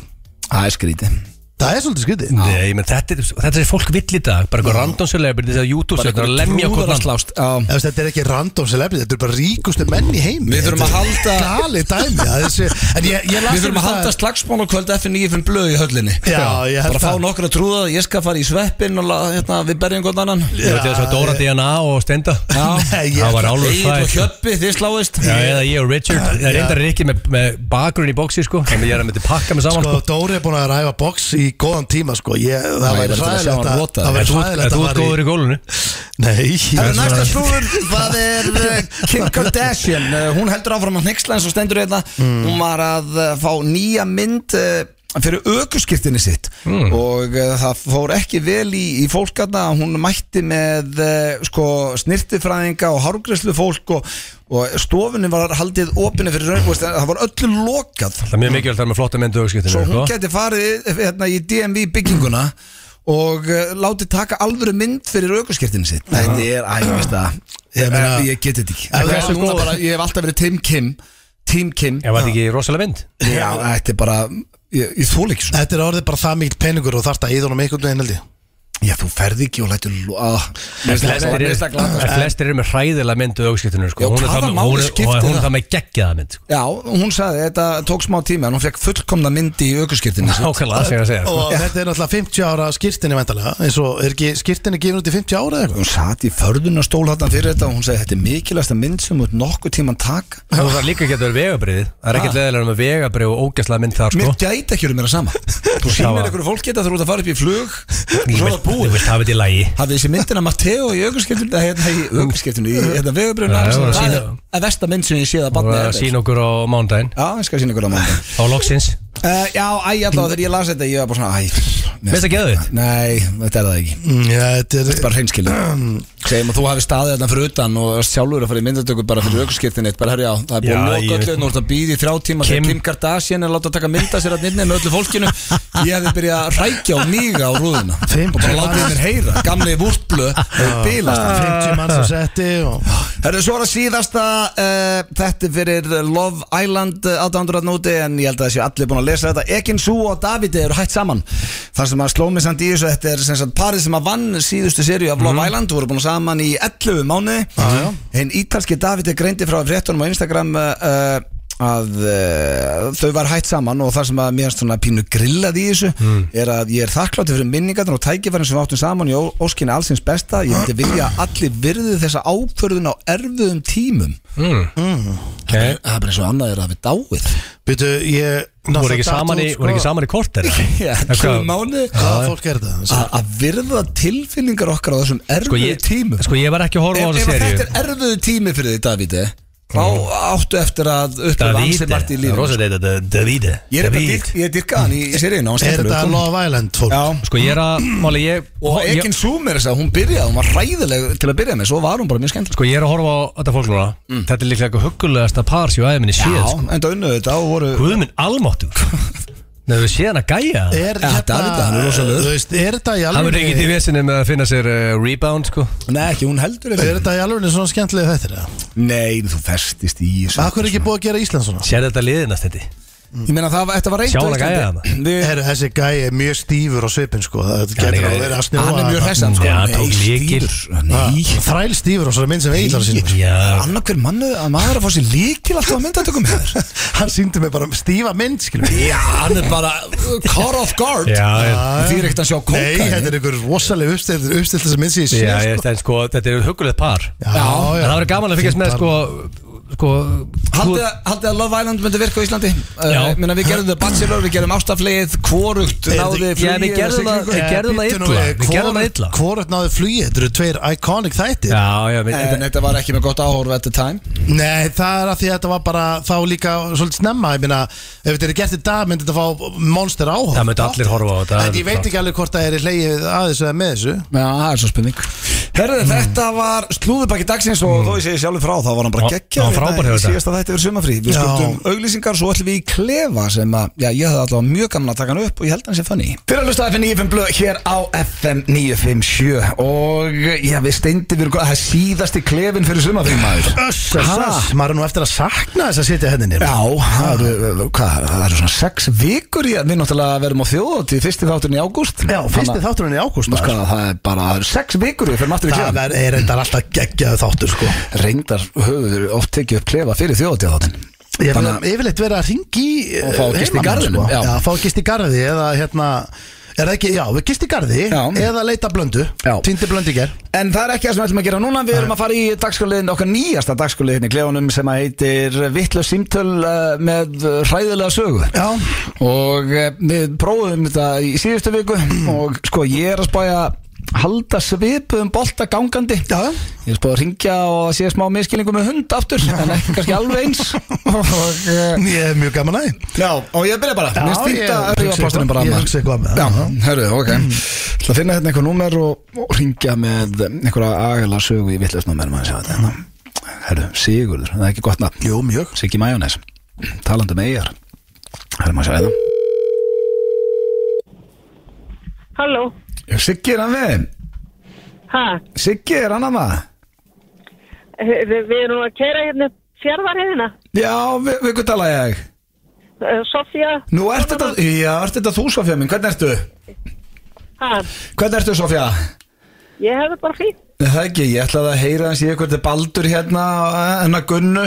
Það er skrítið Það er svolítið skrítið Nei, ég menn, þetta er, þetta er fólk vill í dag Bara eitthvað random celebrity þegar YouTube Bara setur að einhverju lemja trúðar okkur að slást Já. Ef þetta er ekki random celebrity, þetta eru bara ríkustu menn í heimi Við þurfum að halda- Gali dæmi já, þessi, En ég, ég las Við þurfum um að það- halda slagsmál á kvöld FN95 blöð í höllinni Já, ég held Bara fá það. nokkra trúða, ég skal fara í sveppin og la- hérna, við berjum gott annan Ég veit þess að Dóra DNA og Stenda Já, Nei, ég- Það var álur Egil og fæð Hjöppi, þið sláist Já, eða ég og Richard Það er reyndar er ekki með, með bakgrunn í bóksi sko Þannig að ég er að myndi pakka mig saman Sko, Dóri er búin að ræfa box í góðan tíma sko. ég, Nei, Það væri ég verð til að sjá hann hræðilegt að- rota. það væri Er þú, hræðilegt er þú að út góður fara í í gólunu? Nei, Það er ég- næsta slúður, það er eh, Kim Kardashian Eh, Hún heldur áfram að hnyggsla eins og stendur hérna Hún var að eh, fá nýja mynd eh, fyrir aukuskirtinni sitt og eh, það fór ekki vel í, í fólkarna hún mætti með eh, sko, snirtifræðinga og hárgræslu fólk og, og stofunni var haldið opinni fyrir raunbúist það var öllu lokað Það er mjög mikilvægt að það er með flotta myndu sko. Svo augskiptinu hún geti farið hérna, í DMV bygginguna og uh, láti taka alvöru mynd fyrir aukurskirtinu sitt Þetta er, æ, ég veist það Ég Ég, meina- ég geti þetta ekki En Ég- hversu núna góð- bara, Ég hef alltaf verið Team Kim Team Kim Ég var þetta ekki rosalega mynd Já, þetta er bara Ég, ég þól ekki svona Þetta er orðið bara það mikill peningur og þarft að íða honum einhvern veginn held ég Já, þú ferð ekki og lætur lo- að- Mér finnst það- Flestir mér finnst það glatað, eru- sko. Flestir eru með hræðilega myndu augskiptinu Já, sko. Hún er hvaða það með- máli hún er- skiptir hún er það? það með geggjaða mynd sko. Já, hún sagði, þetta tók smá tíma en hún fekk fullkomna myndi í aukurskirtinu sitt Nákvæmlega það sem ég er að segja sko. Og þetta er náttúrulega 50 ára skýrtinni væntalega eins og er ekki skýrtinni gefin út í 50 ára eða eitthvað Hún satt í förðunastól hérna fyrir þetta og hún sagði, þetta er mikilasta mynd sem út nokkuð tíman taka Þú þarf líka að geta verið vegabriðið Það er ekkert leðilega með vegabrið og ógæslega mynd þar sko. Mér gæti ekki verið meira sama Þú Það sýnir var- einhverju fólk geta þegar þú ert að fara upp í flug og Ég svo er vil- það búið Ég vil hafa þetta í lagi Hafið þessi myndina Matteo í aukurskiptunni eða hérna í aukurskiptunni í hérna vegubrjónu Já, það var að það sýna- er að versta mynd sem ég séð að Það batna var að sína okkur á mándaginn Já, ég skal sína ykkur á mánda Á loksins uh, Já, æ, allavega þegar ég las þetta ég var bara svona, æ mér- Veist það geðveikt? Nei, þetta er það ekki Mm, Já, þetta er Þetta er bara hreinskilu Segjum að þú hafi staðið þarna fyrir utan og varst sjálfur að fara í myndatöku bara fyrir aukurskiptunni bara herri á, það er búið Já, að ég loka veit. öllu nú ertu að býði í þrjá tíma þegar Kim- Kim Kardashian er að láta taka mynda sér að nynni með öllu fólkinu Ég hefði byrjað að rækja og míga á rúðuna Fimm- og bara látið mér heyra gamli vúrtblö hefur bilast Ah. 50 manns að setti og Herðu svo er að síðasta uh, Þetta er fyrir Love Island uh, 800 núti en ég held að þessi allir búin að lesa þetta Ekin Sú og Davide eru hætt saman Þar sem að sló mig samt í þessu Þetta er sem sagt parið sem að vann síðustu serju af Love Island voru búin saman í 11 mánu Mhm. já. En ítalski Davide greindi frá fréttunum á Instagram uh, uh, að uh, þau var hætt saman og það sem að mér finnst svona pínu grillað í þessu Hmm. er að ég er þakklátti fyrir minningarnar og tækifærin sem við áttum saman í óskinni allsins besta ég myndi vilja að allir virðu þessa ákvörðun á erfiðum tímum Mm. Mm. okay. það er bara eins og annað er að við dáið Býtu, ég Þú voru ekki saman í, Datt út, sko. voru ekki saman í korter sko. Já, eða? kemur Hvað- mánuði Hvaða fólk er þetta? að að virða tilfinningar okkar á þessum Sko erfiðu ég, tímum sko ég var ekki að horfa á ef, þessa ef að seríu þetta er erfiðu tími fyrir þig Davide þá áttu eftir að upplifa ansi margt í Davide, lífinu eh, sko. Rosa Davide Davide ég er David. bara dyrkað hann í, í seríun Er þetta Love Island fólk? Já, Sko ég er að, máli ég Og ég- Egin Súmer þess að hún byrjaði, hún var ræðileg til að byrja með, svo var hún bara mjög skemmtileg Sko ég er að horfa á þetta fólk núna Mm. sko. Þetta er líklega eitthvað huggulegasta par sem ég aðeins minni séð sko. enda unnuðu þetta og voru Guðminn almáttu Nei, þú séð hann að gæja það? Er Ja, Davíð, hann er rosalegur. Þú veist, er þetta í Hann verður ekkert í alveg vesinni með að finna sér uh, rebound sko Nei, ekki, hún heldur Er ekki þetta í alveg svona skemmtilega þetta? Nei, þú festist í þessu. Akkur er ekki búið að gera Ísland svona? Sér þetta liðinast þetta Ég meina það, þetta var reynd Sjá hann að gæja Við Heru, þessi gæi er mjög stífur á svipin sko. Það hann getur er- að vera að snjóa Hann er mjög hressan sko Já, Nei, tók lykil. stýr. Nei, Þræl stífur á svona mynd sem Egil Nei, sín Já. annar hver mann að maður er að fá sér líkil alltaf að myndatökum með þér Hann síndi mig bara stífa mynd skilur við. Já, hann er bara uh, caught off guard Já, Því er ekkert að sjá kóka Nei, þetta er einhver rosaleg uppstilt uppstilt þess að mynd sem ég sé já, sko. ég- en sko, þetta er hugulegt par Já, já. En það verður gaman að fylgjast með sko sko Haldið haldið að Love Island myndi virka á Íslandi Já. uh, Minna við gerðum The Bachelor, við gerðum Ástafleið Hvorugt náði Já, við gerðum það- siglingu. við gerðum það Bíddu nú, illa eh, Við gerðum það hvorugt- illa Hvorugt náðu flugið, þetta eru tveir iconic þættir Já, já, við- En þetta- þetta var ekki með gott áhorf at the time Nei, það er að því að þetta var bara þá líka svolítið snemma, ég meina ef þetta er gert í dag myndi þetta fá monster áhóð Það myndu allir horfa á þetta, En ég veit ekki alveg hvort það er í hleyið að þessu eða með þessu Já, það er svo spurning Hmm. Herðu, þetta var slúðurbakki dagsins og þó ég segi sjálfur frá þá var hann bara Já, geggja hann var frábær hjá þetta. Síðasta þætti verið sumafrí Við Já. skuldum auglýsingar, svo ætlum við í klefa sem að, já, ég hafði allavega mjög gaman að taka hann upp og ég held hann sem fann í Fyrir að hlusta á FM 95 blöð hér á FM 957 og já, við steindi við það er síðasti klefin fyrir sumafrí maður Öss, öss, maður er nú eftir að sakna þess að sitja hérna henni nýr Já, það eru, hvað, það eru svona sex vikur í að við náttúrulega verum á þjóðatíð fyrsti þátturinn í ágúst Já, fyrsti þátturinn í ágúst maður. Hvað, það er bara, það eru sex vikur í fyrir aftur í Það klefann. er, er endar alltaf geggjaðu þáttur sko reyndar höfum við oft tekið upp klefa fyrir þjóðatíðáttin Ég vil Þannig að- yfirleitt vera að ringi í Og fá eh, gist í heimamenn, garðinum, sko. já. Já, fá gist í garði eða hérna Er það ekki, já, við gist í garði Já. Eða leita blöndu, Já. týndi blöndu í ger En það er ekki það sem við ætlum að gera núna Við erum að fara í dagskóliðin, okkar nýjasta dagskóliðin í klefunum sem að heitir Vittla símtöl eh, með eh, hræðilega sögu Já, Og eh, við prófum þetta í síðustu viku Og sko, ég er að spája halda svipuðum bolta gangandi Já. Ég er spáð að ringja og að sé smá miskilningu með hund aftur En ekki kannski alveg eins Og eh, ég er mjög gaman að því Já, og ég byrja bara Já, Mér finnst fínt ég að hugsa rífa plásturinn bara af eitthvað- ég maður. hugsa eitthvað með það. Já, Já. hörru, ok Það finna hérna eitthvað númer og, og ringja með einhverja agalega sögu í vittlustnúmer maður sjá þetta hérna Herru, Sigurður, það er ekki gott nafn Jú, mjög Siggi Majónes, talandi með eigar Herru, maður sjá hérna? þetta Halló, Siggi er hann við, hæ, Siggi er hann að maður við erum að kæra hérna fjárvarheðina, Já, við, við hvað tala ég Eh, Sofía, Nú, ert þetta, já, ert þetta þú, Sofja mín, hvernig ertu? hæ, Hvernig ertu, Sofja? ég hefði bara fín, Nei, Það ekki, ég ætlaði að heyra hans í eitthvað til Baldur hérna, hennar Gunnu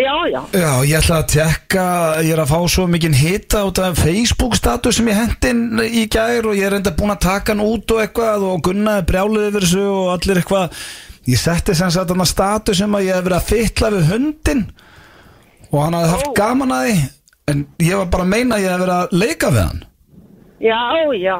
já, já, Já, ég ætla að tekka, ég er að fá svo mikinn hita út af Facebook status sem ég hendin í gær og ég er enda búin að taka hann út og eitthvað og gunnaði brjálið yfir þessu og allir eitthvað Ég setti sem sagt hann að status sem að ég hef verið að fytla við hundin og hann hafði haft Ó. gaman að því en ég var bara að meina að ég hef verið að leika við hann já, já,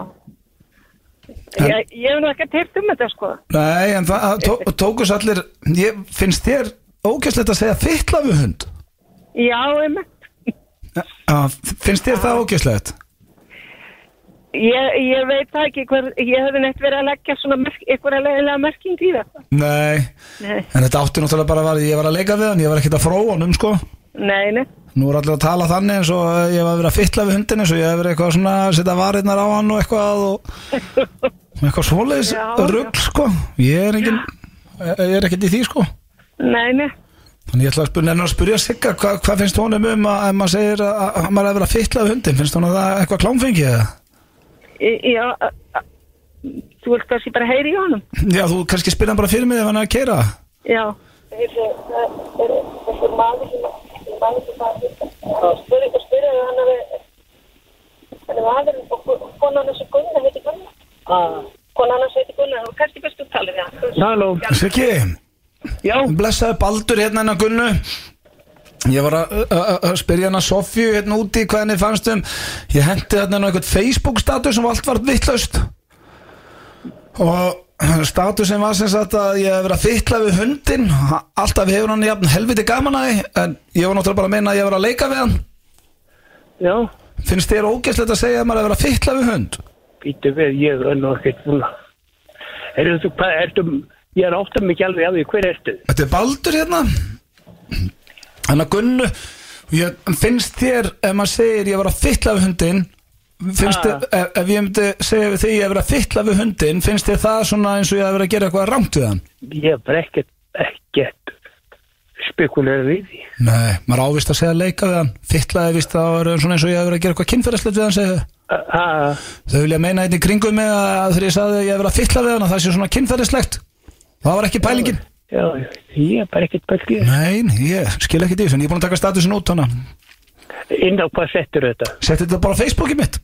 ég, ég hef nú ekki teirt um þetta sko, Nei, en það það tó, tókus allir, ég finnst þér ógæslegt að segja fytla við hund já, einmitt, Já, Finnst þér það ógæslegt? ég, ég veit það ekki hver, ég hefði neitt verið að leggja svona merk, einhverja leiðilega merking í þetta, Nei nei, En þetta átti náttúrulega bara að vera, ég var að leika við hann, ég var ekkert að fróa hann um sko nei, nei, Nú er allir að tala þannig eins og eh, ég var að vera að fytla við hundin eins og ég hef verið eitthvað svona að setja varirnar á hann og eitthvað og eitthvað svoleiðis Já, já. rugl sko Ég er engin, ég er ekkert í því sko nei, nei, Þannig ég ætla að spyrja, en að spyrja Sigga, hvað, hvað finnst honum um að ef maður segir að, að að maður er að vera að fytla við hundin, finnst hún að það eitthvað klámfengi eða? Í- já, a- a- þú vilt kannski bara heyri í honum, Já, þú kannski spyrja hann bara fyrir mig ef hann er að keira já, Heyrðu, það er einhver maður sem einhver maður sem var að spyrja og spyrja að hann hafi hann er maðurinn og ko- konan hans er Gunnar, heiti Gunnar. Ah. Konan hans heiti Gunnar og kannski bestu talið við hann. halló, Siggi, já, blessaði Baldur hérna hennar Gunnu Ég var að- að að- að spyrja hennar Sofju hérna úti hvað henni fannst um Ég hendi hérna hennar eitthvað Facebook status sem allt var vittlaust og statusin var sem sagt að ég hef verið að fytla við hundin alltaf hefur hann jafn helviti gaman að því en ég var náttúrulega bara að meina að ég hef verið að leika við hann Já, Finnst þér ógeðslegt að segja að maður hef verið að fytla við hund? býttu við, ég er nú ekkert búin að... Heyrðu þú, hvað ertu... Ég er átt að mikið alveg að því, hver ertu? Þetta er Baldur hérna Hann að Gunnu ég, en finnst þér, ef maður segir ég var að fytla við hundin finnst Ah. þér, ef, ef ég myndi segja við þig ég var að fytla við hundin, finnst þér það svona eins og ég hef verið að gera eitthvað rangt við hann Ég var ekkert, ekkert spekulegur við því. Nei, maður ávist að segja að leika við hann fytlaði vist að það var svona eins og ég hef verið að gera eitthvað kynferðislegt við hann segja Að, þau vilja meina einnig kringum mig að að þegar ég sagði að ég hef verið að fytla við hann að það sé svona kynferðislegt það var ekki pælingin já, ég var ekkert pælt í þessu. Nei, ég skil ekki því, en ég er búin að taka statusin út hana Inn á hvað settur þetta? Setti þetta bara á Facebookið mitt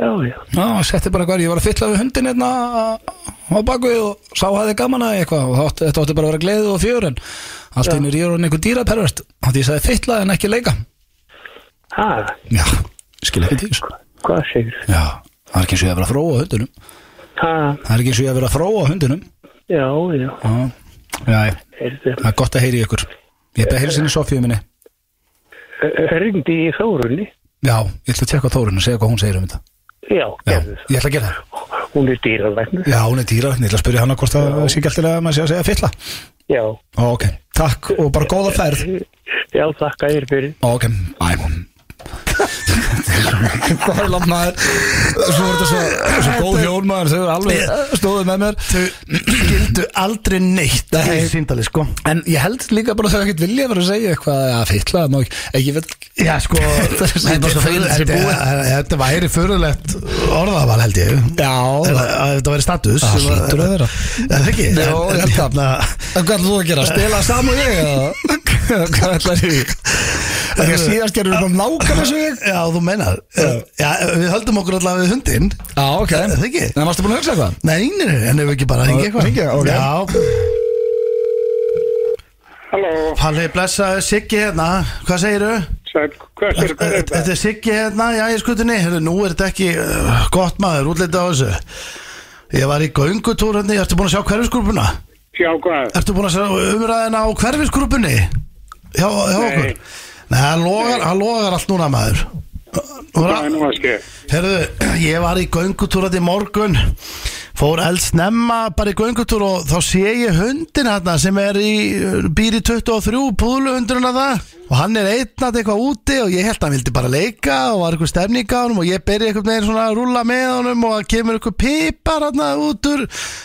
Já, já. Já, setti bara hvað, ég var að fylla við hundin hérna á bakvið og sá hafði gaman að eitthvað og það átti- þetta átti bara að vera gleðið og fjör en allt innur ég er hann einhver dýrapervert þannig ég sagði fylla en ekki leika Að, Já, skil ekki því sko. hvað segir? Já, það er ekki eins og ég að vera að fróa hundunum Að, það er ekki eins og ég að vera að fróa hundunum já, já. Já, já, Heyrðu, það er gott að heyri ykkur Ég beða heilsinni Sofíu minni Ringdi í Þórunni? Já, ég ætla að tjekka á Þórunni og segja hvað hún segir um þetta Já, Já, gerðu það. ég ætla að gera það Hún er dýralæknir. Já, hún er dýra, ég ætla að spyrja hana hvort það sé gæltilega að maður sé að segja fylla Já, Ó, ok, takk og bara góða ferð já, þakka þér fyrir. Ó, ok, bæ Hvað er langt maður Svo voru þetta svo, svo góð hjón maður Þau eru alveg stóðu með mér Þau skildu aldrei neitt Nei. í síndali, sko En ég held líka bara að þau ekkert vilja vera að segja eitthvað að fylla, má ekki, ég veit Já, sko Þetta er bara svo fínt, þetta er þetta- búið. þetta- Þetta væri fyrulegt orðaval, held ég Já, Eða að þetta væri status Það hlýtur að vera. Er það ekki? Jó, En- ég en held það. hérna- En hvað ætlaðu þú að gera? Stela saman og ég? eða? Hvað ætlaðu því? Þegar síðast gerum við um nákvæmlega svo ég Já, þú meinar Já, við höldum okkur allavega við hundinn Já, ok Er það ekki? Nei, varstu búin að hugsa eitthvað? Nei, nei, nei, en ef við ekki bara hringi eitthvað Hringja, ok. Já, Halló, Palli, blessa Siggi hérna Hvað segiru? sæl, hvað sér hvað er Þetta þetta? er Siggi hérna, já, ég skutinni Hérna, nú er þetta ekki uh, gott maður, útlitið á þessu Ég var í göngutúr hérna, ertu búin að sjá hverfisgrúpuna? Sjá hvað? Ertu búin að sjá umræðina á hverfisgrúpunni? Já, já, Nei. okkur Nei, hann logar, hann logar allt núna maður Nú er Hvað er að- nú að ske? Herðu, ég var í göngutúrat í morgun Fór eldsnemma bara í göngutúr og þá sé ég hundin hérna sem er í býr í 23, púluhundurinn að það hérna. og hann er einnat eitthvað úti og ég held að hann vildi bara leika og var eitthvað stemning á honum og ég byrja eitthvað neginn svona að rúlla með honum og það kemur eitthvað pipar hérna út úr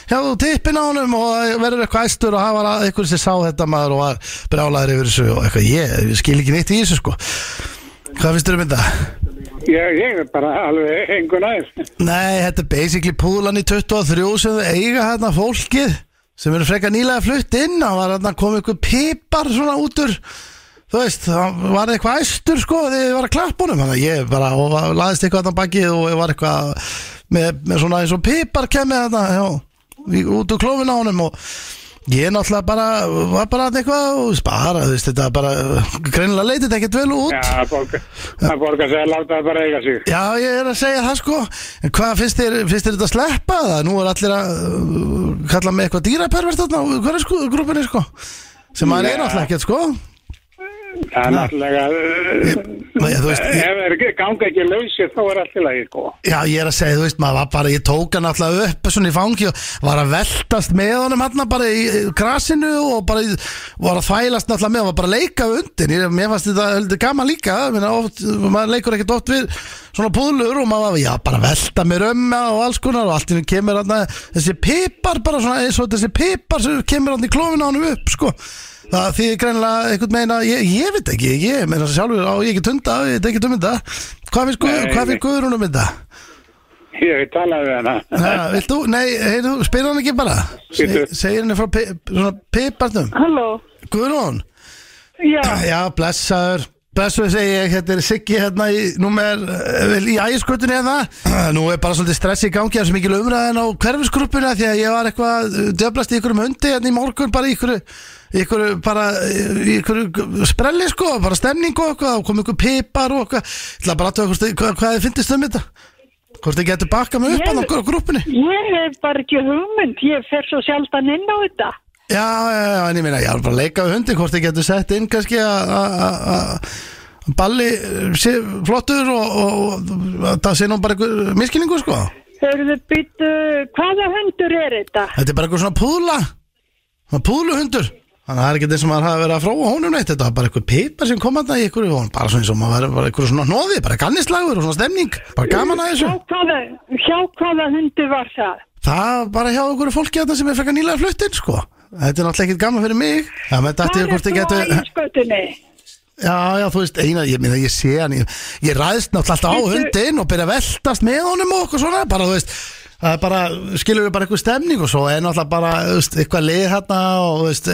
hjá tippin á honum og það verður eitthvað æstur og hafa eitthvað sem sá þetta maður og var brjálaður yfir þessu og eitthvað ég, ég skil ekki neitt í þessu sko Hvað finnst þér um þetta? Ég, ég er bara alveg engu nær. Nei, þetta er basically púlan í 23 sem þau eiga hérna fólkið sem eru frekar nýlega flutt inn hann var hérna komið ykkur pipar svona út úr þú veist, það var eitthvað æstur sko þegar ég var að klappa honum þannig að ég bara, og var- laðist eitthvað þarna bakið og ég var eitthvað með, með svona eins og pipar kemið þarna, já, í- út úr klófin á honum og ég náttúrulega bara var bara þarna eitthvað og bara, þú veist, þetta bara greinilega leitið þetta ekkert vel út Já, það borga, það borga sig að láta það bara eiga sig. Já, ég er að segja það sko En hvað finnst þér, finnst þér þetta að sleppa það? Nú er allir að uh, kalla með eitthvað dýrapervert þarna Hvað er sko, grúpinni sko? Sem maður er Já. náttúrulega ekkert sko Það er náttúrulega, eh, Nei, þú veist, ég- ef það ganga ekki lausir, þá er allt í lagi, sko. Já, ég er að segja, þú veist, maður var bara, ég tók hann alltaf upp svona í fangi og var að veltast með honum hann bara í í grasinu og bara í, var að þvælast náttúrulega með og var bara að leika við undir, ég, mér fannst þetta heldur gaman líka, minna, oft, maður leikur ekkert oft við svona púðlur og maður var, já, bara að velta mér um og alls konar og allt í henni kemur hann þessi pipar bara svona eins og þessi pipar sem kemur hann í klófinu á hann upp, sko það því greinilega einhvern meina ég, ég veit ekki, ég meina sjálfur á ég ekki tunda, ég veit ekki um þetta hvað finnst Guð- Nei, hvað nei. finnst Guðrún um þetta? Ég hef talað við hana. Ha, vilt þú, nei, heyrðu, spyr hann ekki bara Se- Bíddu. Segir henni frá pi- svona piparnum Halló, Guðrún, já, já, blessaður Blessaður segi ég, þetta er Siggi hérna í númer, eh, vel, í ægiskötunni hérna Nú er bara svolítið stress í gangi Það er svo mikil umræðin á hverfisgrúppuna Því að ég var eitthvað eh, döblast í ykkur um hundi Hérna í morgun bara í ykkur ykkur bara, eh, í ykkur sprelli sko, bara stemning og eitthvað og kom ykkur pipar og eitthvað Ég ætla bara að athuga hvort þið- hvað, hvað þið fyndist um þetta hvort þið getur bakkað mig upp Ég- að okkur á grúppinni ég hef bara ekki hugmynd, ég fer svo sjaldan inn á þetta. Já, já, já, en ég meina, ég var bara að leika við hundin hvort ég getur sett inn kannski að- að að- að balli eh, sé flottur og, og, og að það sé nú bara einhver miskilningu sko Hörðu, byttu, hvaða hundur er þetta? Þetta er bara einhver svona púðla svona púðluhundur Þannig að það er ekki þess að maður hafi verið að fróa honum neitt Þetta var bara eitthvað pipa sem kom að það í ykkur og bara svona eins og maður verið bara eitthvað svona hnoði bara gannislagur og svona stemning bara gaman að þessu Hjá hvaða, hjá hvaða hundi var það? Það var bara hjá ykkur fólki þarna sem er frekar nýlega fluttin sko Þetta er náttúrulega ekkert gaman fyrir mig Já, með dætti Hvar ykkur er til þú getur á ægiskötunni? Já, já, þú veist, eina, ég minna, ég sé hann Ég, ég ræðst náttúrulega alltaf á Veistu- hundin og byrja að veltast með honum og okkur svona bara, þú veist Það er bara, skilur við bara eitthvað stemning og svo er náttúrulega bara, þú veist, eitthvað lið hérna og, þú veist,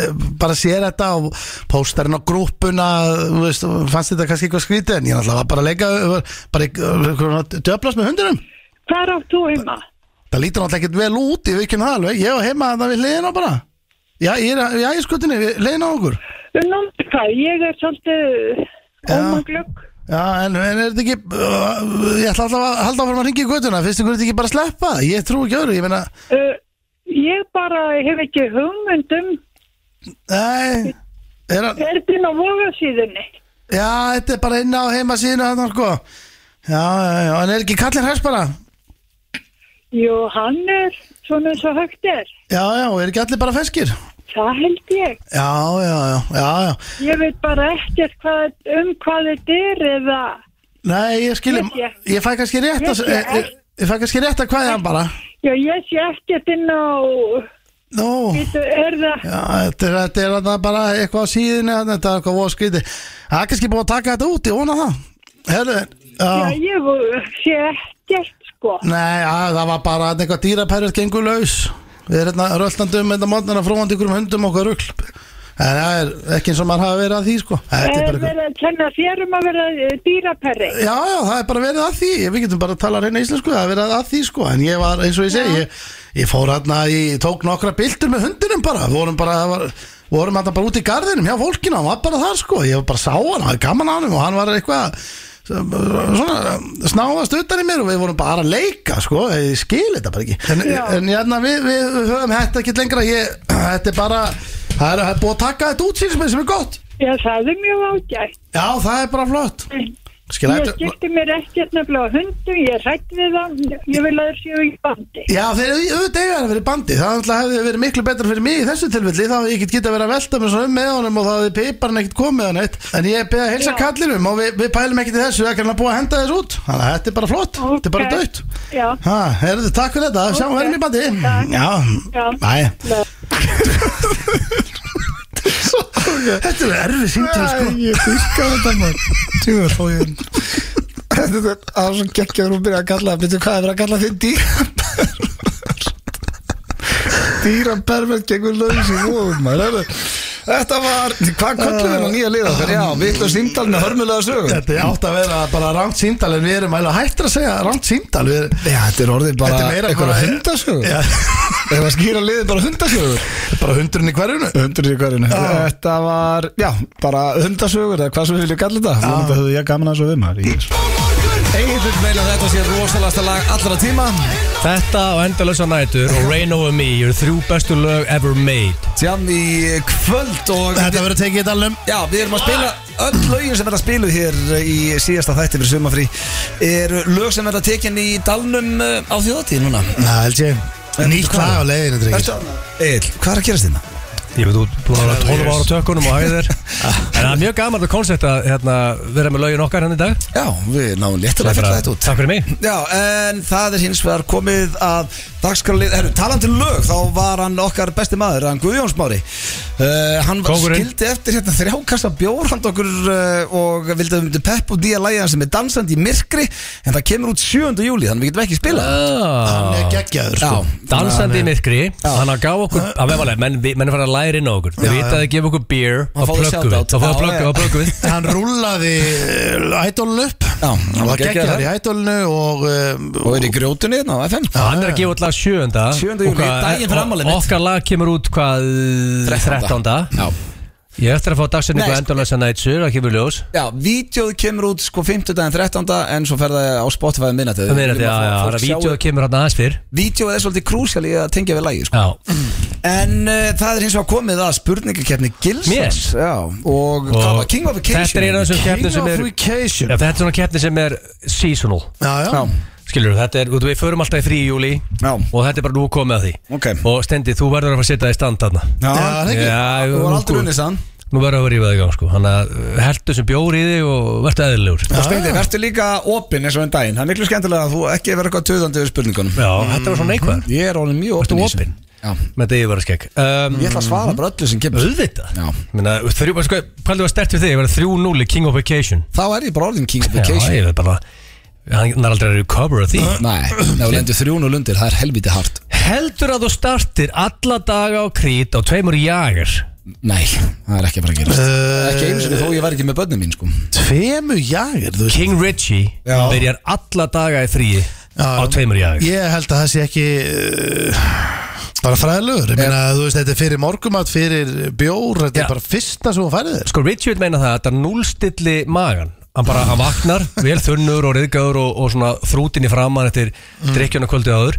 bara sér þetta og póstarinn á grúppuna, þú veist, og fannst þetta kannski eitthvað skrítið en ég náttúrulega var bara að leika, var bara eitthvað, döblast með hundinum. Hvar átt þú heima? Það lítur náttúrulega ekkert vel út í vikinu alveg Ég var heima þannig við hliðina á bara Já, ég er já, í skutinni við hliðina á okkur Nú, hvað, ég er svolítið ómanglögg. Já, en, en er þetta ekki uh, Ég ætla alltaf að halda áfram að ringa í götuna Fyrst ykkur er þetta ekki bara að sleppa Ég trú ekki öðru, ég meina Uh, ég bara hef ekki hugmynd um Nei er, að- verðin á vogasíðinni. Já, þetta er bara inn á heimasíðinu þarna sko Já, já, já, en er ekki kallinn hers bara Jú, hann er svona eins og högt er. Já, já, og er ekki allir bara feskir Það held ég. Já, já, já, já, já Ég veit bara ekkert hvað, um hvað þetta er eða... Nei, ég skilum, Ég sé. ég fæ kannski rétt Ég að, sé. ég, ég, ég fæ kannski rétt að hvaðið hann bara Já, ég sé ekkert inn á... Nú Býtu, er það... Já, þetta er, þetta er þarna bara eitthvað á síðinu, þarna, þetta er eitthvað voða skríti Það er kannski búið að taka þetta út, ég vona það Herðu, Já, já, ég vo- sé ekkert, sko. nei, já, það var bara þarna eitthvað dýraperrið gengur laus Við erum hérna röllandum með mótnana fróandi ykkur um hundum og okkur rugl En það er ekki eins og maður hafa verið að því, sko Þetta er Er bara eitthvað verið að kenna þér um að vera eh, dýraperri? Já, já, það er bara verið að því Við getum bara að tala reyna íslensku, það er verið að því, sko En ég var, eins og ég segi, ég, ég fór hérna Ég tók nokkra bildur með hundinum bara Við vorum bara, það var, vorum hérna bara út í garðinum Hjá fólkinu, hann var bara þar, sko Ég bara sá hann, hann var gaman á hann Og hann var eitthvað, svona Snáðast utan í mér og við vorum bara að leika, sko Ég skil þetta bara ekki En, Já. en hérna, við, við höfum hætt ekki lengra ég, Þetta er bara, það er, það er búið að taka þetta út sínsmið sem er gott Já, það er mjög ágætt. Já, það er bara flott Skil, Ég þetta- skipti mér ekkert nefnilega á hundum, ég er hrætt við það, ég vil að þeir séu í bandi. Já, þeir eru auðvitað eiga að vera í bandi Það náttúrulega hefði verið miklu betra fyrir mig í þessu tilfelli Þá hefði ég get getað verið að velta mér svona um með honum Og þá hefði piparinn ekkert komið hann eitt En ég beða að helsa Já. kallinum Og við, við pælum ekkert í þessu Það er kannan búið að henda þessu út Þannig að þetta er bara flott Þetta er bara Ok. dött Já, Ha, herðu, takk fyrir þetta, sjáum Ok. verðum í bandi Takk. Já, Já. næ Nei. Þetta er erfið síntil sko Ég fyrka þetta maður Tjóður fó ég Þetta er það var svo geggjaður og byrja að kalla Veitu hvað er verið að kalla þig dýraberverð Dýraberverð gengur laus í vóðum maður heyrðu. Þetta var, hvað kallum við hennar nýja liða okkar? Já, við ætlum síndal með hörmulega sögum Þetta er átt að vera bara rangt síntal En við erum eiginlega hættir að segja rangt síntal Við erum Já, þetta er orðið bara Þetta er meira einhverja bara- hundasögur Já. Þetta var skýra liðið bara hundasögur bara hundurinn í hverjunu Hundur í hverjunu Þetta var, já, bara hundasögur eða hvað sem við viljum kalla þetta Þetta höfðu ég gaman að svo við maður Ég- Egilur meina að þetta sé rosalasta lag allra tíma Þetta og Endalösa nætur og Rain Over Me eru þrjú bestu lög ever made Tján í kvöld og Þetta verður tekið í dalnum Já, við erum að spila öll lögin sem verða spiluð hér í síðasta þætti fyrir sumafrí eru lög sem verða tekin í dalnum eh, á þjóðatíð núna Næ, held ég Nýtt hvað? lag á leiðinu, drengir Ertu- Egill, hvað er að gerast hérna? þérna? Ég veit út búin að vera 12 ára á tökkunum og hægir þér En það er mjög gaman þetta koncept að hérna, vera með lögin okkar hann í dag Já, við náum léttilega að Bara- fylla þetta út Takk fyrir mig Já, en það er hins vegar komið að dagskrálið, herru, talandi um lög þá var hann okkar besti maður, hann Guðjóns Mári uh, Hann var Kóngurinn. skildi eftir hérna þrjákassa bjór handa okkur uh, og vildi að við myndi pepp og dýja lægjan sem er dansandi í myrkri en það kemur út 7. júli, þannig við getum ekki spila Hann er Ah. geggjaður, sko Já, Dansandi í myrkri Hann að gá okkur að vefalega, menn, vi- menn er farið að læra inn á okkur Þið Já, vita já. að þið gefa okkur beer Og og fáðu plöggum við shoutout. Þá fáðu Já, plöggum já. og plöggum við hann rúlaði ædólun upp Já, hann var geggjar í ædólunu og um, Og er í grjótunni hérna á FM Hann er að gefa út lag 7. 7. júlí, daginn fyrir afmælið mitt. Okkar lag kemur út hvað 13. Já, Ég hef eftir að fá dagsetningu Nei, sko- endurlega sem nætsur að kemur ljós já vídeoð kemur út sko 50 daginn 13. en svo fer það á Spotify um minnatið Það meina þetta, já, já, það er að vídeo kemur hann aðeins fyrr Vídeóð er svolítið krúsjál í að tengja við lægi sko. Já, En uh, það er hins vegar komið að spurningakefni Gilsons Yes. Já, og, Og hvað var King of Vacation þetta er eina af þessum keppnum sem er King of Vacation Já, þetta er svona keppni sem er seasonal já, já. Já, Skilur, þetta er, út, við förum alltaf í frí í júli Já. Og þetta er bara nú komið að því Ok. Og Stendi, þú verður að fara að setja það í stand þarna Já, það er ekki. Já, Þú var nú- aldrei unnið sann Nú verður að vera í veða í gang sko Þannig að uh, heltu sem bjór í þig og verður eðlilegur Og Steindi, verður líka opinn eins og enn daginn Það er miklu skemmtilega að þú ekki verður eitthvað töðandi við spurningunum Já, þetta var svona neikvæður Ég er orðin mjög Verður opinn í þessu. opinn Já. með þetta yfirvaraskegg um, Ég ætla að svara bara öllu sem kemur Auðvitað Já. Meina, þrjú, sko, Pældu að stert við þig, ég verður 3-0 í King of Vacation Þá er ég bara orðin King of Já, Vacation ég veit bara Hann er aldrei að recovera því Nei, ef þú lendir þrjún og lundir, það er helviti hart Heldur að þú startir alla daga á krít á tveimur jager Nei, það er ekki að fara að gerast Ekki einu sinni þó ég væri ekki með börnum mín sko Tvemu jagir, þú veist King Richie Já. byrjar alla daga í fríi á tveimur jager Ég held að það sé ekki uh, bara fræðilegur, ég meina þú veist þetta er fyrir morgumat, fyrir bjór þetta Já. er bara fyrsta sem hún færið þér Sko Richie vil meina það að þetta núlstilli magan Hann bara, hann vaknar, vel þunnur og reyðgöður og, og svona þrútin í framann eftir mm. drikkjuna kvöldið áður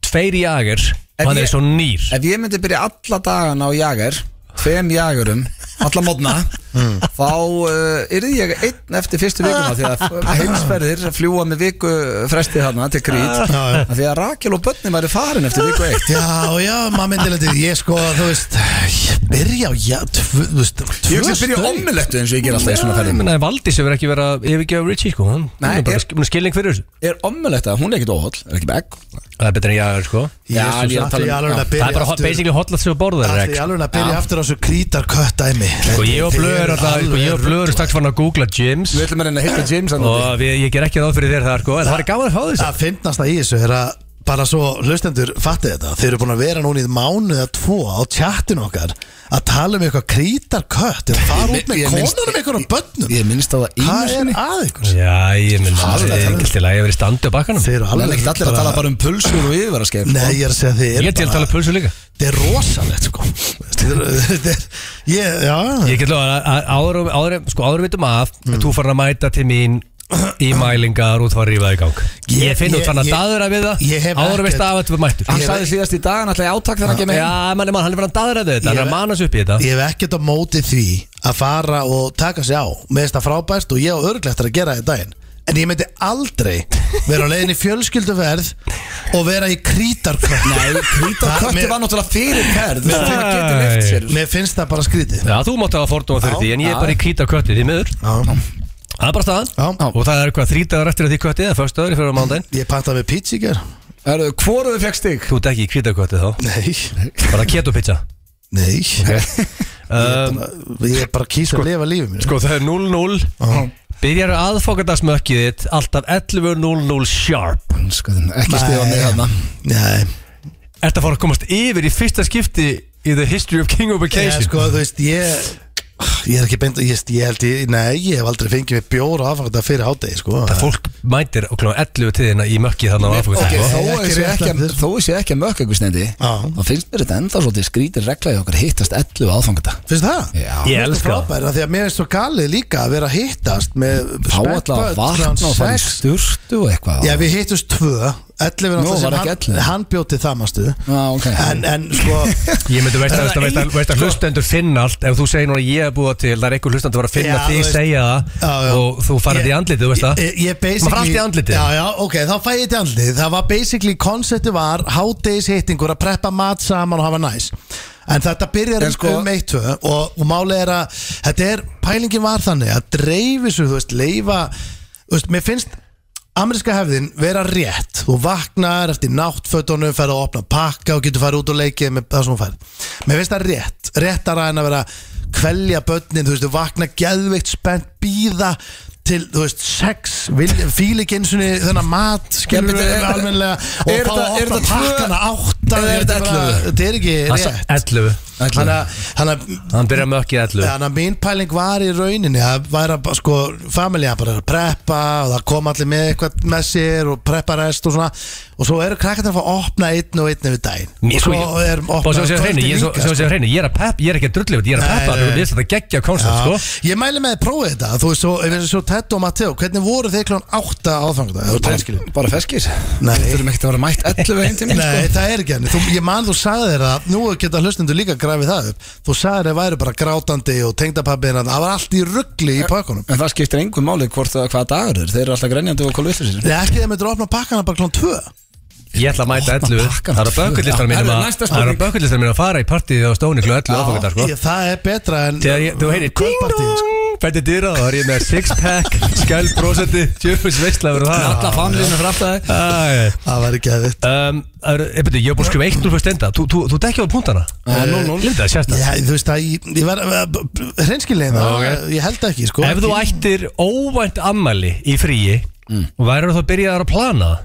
Tveir jager, En hann ég- er svo nýr Ef ég myndi byrja alla dagana á jager Tveim jagerum, alla modna Mm. Þá uh, yrði ég einn eftir fyrstu vikuna Því að heimsferðir fljúa með viku fresti þarna til krít Því að Rakel og börnum væri farin eftir viku eitt Já, já, maður myndi letið, ég sko, þú veist ég byrja á, já, tvö, þú veist Ég tvö hugsa að byrja stöð. ommilettu eins og ég ger alltaf í svona Ég ferðum meina, Valdís hefur ekki verið að yfirgefa Richie sko Hann Nei, Nei, er bara ég- sk- hún er skilning fyrir þessu Er ommeletta, hún er ekkit óhóll, er ekki begg Það er betur en jager sko Jesús, Já, en ég er að ætla tala um- ég já, alveg að Það byrja er bara aftur- basically hotlast sem borðar ætla ég alveg að byrja aftur á þessu krítar kött dæmi Sko ég og Blöður alltaf, sko ég og Blöður strax fann að googla gyms Við ætlum að reyna að hitta James hann og við, ég ger ekki ráð fyrir þér þar sko en það var gaman að fá þessu Það finnast það í þessu er að bara svo hlustendur fatti þetta þeir eru búin að vera núna í mánu eða tvo á tjattin okkar að tala um eitthvað krítar kött eða fara út með Ég minnst- konunum eitthvað á börnum Ég minnst á það Hvað er einu að ykkur? Já, ég minn, það er ekkert til að ég verið standu á bakkanum Þeir eru Það er alveg ekkert allir að tala bara um pulsur og yfirvara Nei, ég er að segja þeir Ég til um- að tala pulsu líka Þetta er rosalegt sko Þetta er- Þetta er Ég, já Ég get lofa að- að áður, og- áður, sko, áður vitum að mm. þú farin að mæta til mín í mælingar út var rífað í gang Ég- Ég finn út ég- fann að ég- daðra við það ég hef áður veist ekkert- að þetta var mættur Hann sagði síðast í dag, hann ætlaði í átak þegar hann kemur heim Já, mann, mann, hann er fann að daðra við þetta, hann er Ég- að manast upp í þetta Ég hef ekkert á móti því að fara og taka sig á með þetta frábært og ég á örglegt að gera þetta í daginn En ég myndi aldrei vera á leiðin í fjölskylduverð og vera í krítarkvöld Nei, kvítarkötti var náttúrulega fyrir ferð Þú fyrir að geta leift sér Mér finnst það bara skrítið Já, þú mátt hafa fordóma fyrir því, en ég er bara í kvíta köttið í miður Já. Það er bara staðan Já. Og það er eitthvað þrítaður eftir að því köttið Það er föstuður í fyrir mándaginn Ég pantaði með pizza í ger Erðu, hvoruðu fekk stig? Þú ert ekki í kvíta köttið þá Nei Bara keto pizza Nei um, Ég bara kýs að lifa lífið mér Sko það er 0-0 Byrjar aðfókardagsmökkið þitt Alltaf 11.00 sharp Skoðum, ekki stig á mig þarna Nei Ertu að fara að komast yfir í fyrsta skipti Í the history of king of Ég, vacation sko, þú veist, ég Ég er ekki beint, ég, ég held ég, nei, ég hef aldrei fengið mér bjóra aðfangta fyrir hádegi, sko Það fólk mætir okkur 11 tíðina í mökkið þarna á Ok, aðfókardag þó Nei, er ekki sé rétt ekki að- allir. þó er sé ekki að mökka ykkur snendi Þá finnst mér þetta ennþá svolítið skrítir regla í okkar hittast 11 aðfangata Finnst það? Já. Ég Mér finnst elska það það frábæra, því að mér er svo galið líka að vera að hittast með Þá spennt ætla að börn, vakna og klukkan fara í sex. sturtu og eitthvað Já, við hittust tvö 11 Nú, var ekki sem 11. hann, hann bjóti það, manstu Já, ok. en, en, sko Ég myndi veist að, Það er veist að, eitt, veist að sko. hlustendur finna allt Ef þú segir núna ég er búið til Það er einhver hlustendur var að finna Já, þig þú veist. segja Já, það já. Og þú farið Ég- í andlitið, þú veist það Ég, ég basically Maður fara allt í andlitið. Já, já, ok, þá fæ ég til andlitið Það var basically, konsepti var Hádegis hittingur að preppa mat saman og hafa næs En þetta byrjar En um- sko- um eitt tvö og, og máli er að Þetta er, pælingin var þannig Að dreifi svo, þú veist, leifa Þú veist, mér finnst Ameríska hefðin vera rétt Þú vaknar eftir náttfötunum, ferð að opna pakka og getur farið út og leikið með það sem hún fær Mér finnst það rétt, réttara en að vera kvelja börnin, þú veist, þú vakna geðveikt spennt, býða til, þú veist, sex, vilja, fílik einsunni þennan mat, Já, skilur við bíddu, er- almenlega og er fá þetta- að er opna þetta tvö- pakkana átta eða er þetta bara- 11? Þetta er ekki Hann rétt sa- 11 Þannig að- þannig að Hann byrjar með ökkið 11 Þannig að mín pæling var í rauninni að væra bara, sko, familja bara að preppa og það kom allir með eitthvað með sér og preppa rest og svona og svo eru krakkarnir að fá að opna einn og einn yfir daginn Mér og sko, svo ég- er Bara svo opnað séu hreinu, ég- svo- svo sko. séu hreinu, Ég er að peppa, ég er ekki að drullu Ég er að Nei, peppa, nei, þú nei. veist þetta geggja koncept Já, sko. ég mæli með að prófa þetta þú veist svo, ef eins og svo Ted og Matteo hvernig voru þeir klán átta áðfangta Bara- Bara feskir Nei. Þurfum ekkert að vera mætt 11 heim til mín Nei, sko. það er ekki hann henni þú, Ég man þú sagði þér að Nú geta hlustundu líka grafið það upp Þú sagði þér væri bara grátandi og tengdapappin Það var allt í ruggli í pakkunum En það skiptir engum máli hvort að hvaða dagur þeir Þeir eru alltaf grenjandi og kólu vitlisir Nei, ekki þeir myndir opna pakkana bara klón 2 Ég ætla að mæta Opna 11 pakkann Það er að fyrir. bökullistar mín Herðu, að næsta Það er að spurning. bökullistar mín að fara í partíð á stóni kl. 11 aðfokkundar sko Ég- Það er betra en Þegar ég, þú heyrir Ding Kvöldpartí, sko. dong Fætti dýra þá er ég með six pack Skæl brósandi Tjöfus veistlæður og það Alla famlinu fyrir aftur það Æ, Það var ekki að þitt Um, er, er, beti, ég hef búin að skrifa 1-0 fyrir stenda Þú, þú, þú dekkið á punktana Linda, sérst það Já, þú veist að ég, ég var eh, hreinskilin okay. ég held ekki sko Ef þú ættir óvænt ammæli í fríi Mm. og værið þú að byrja að plana það?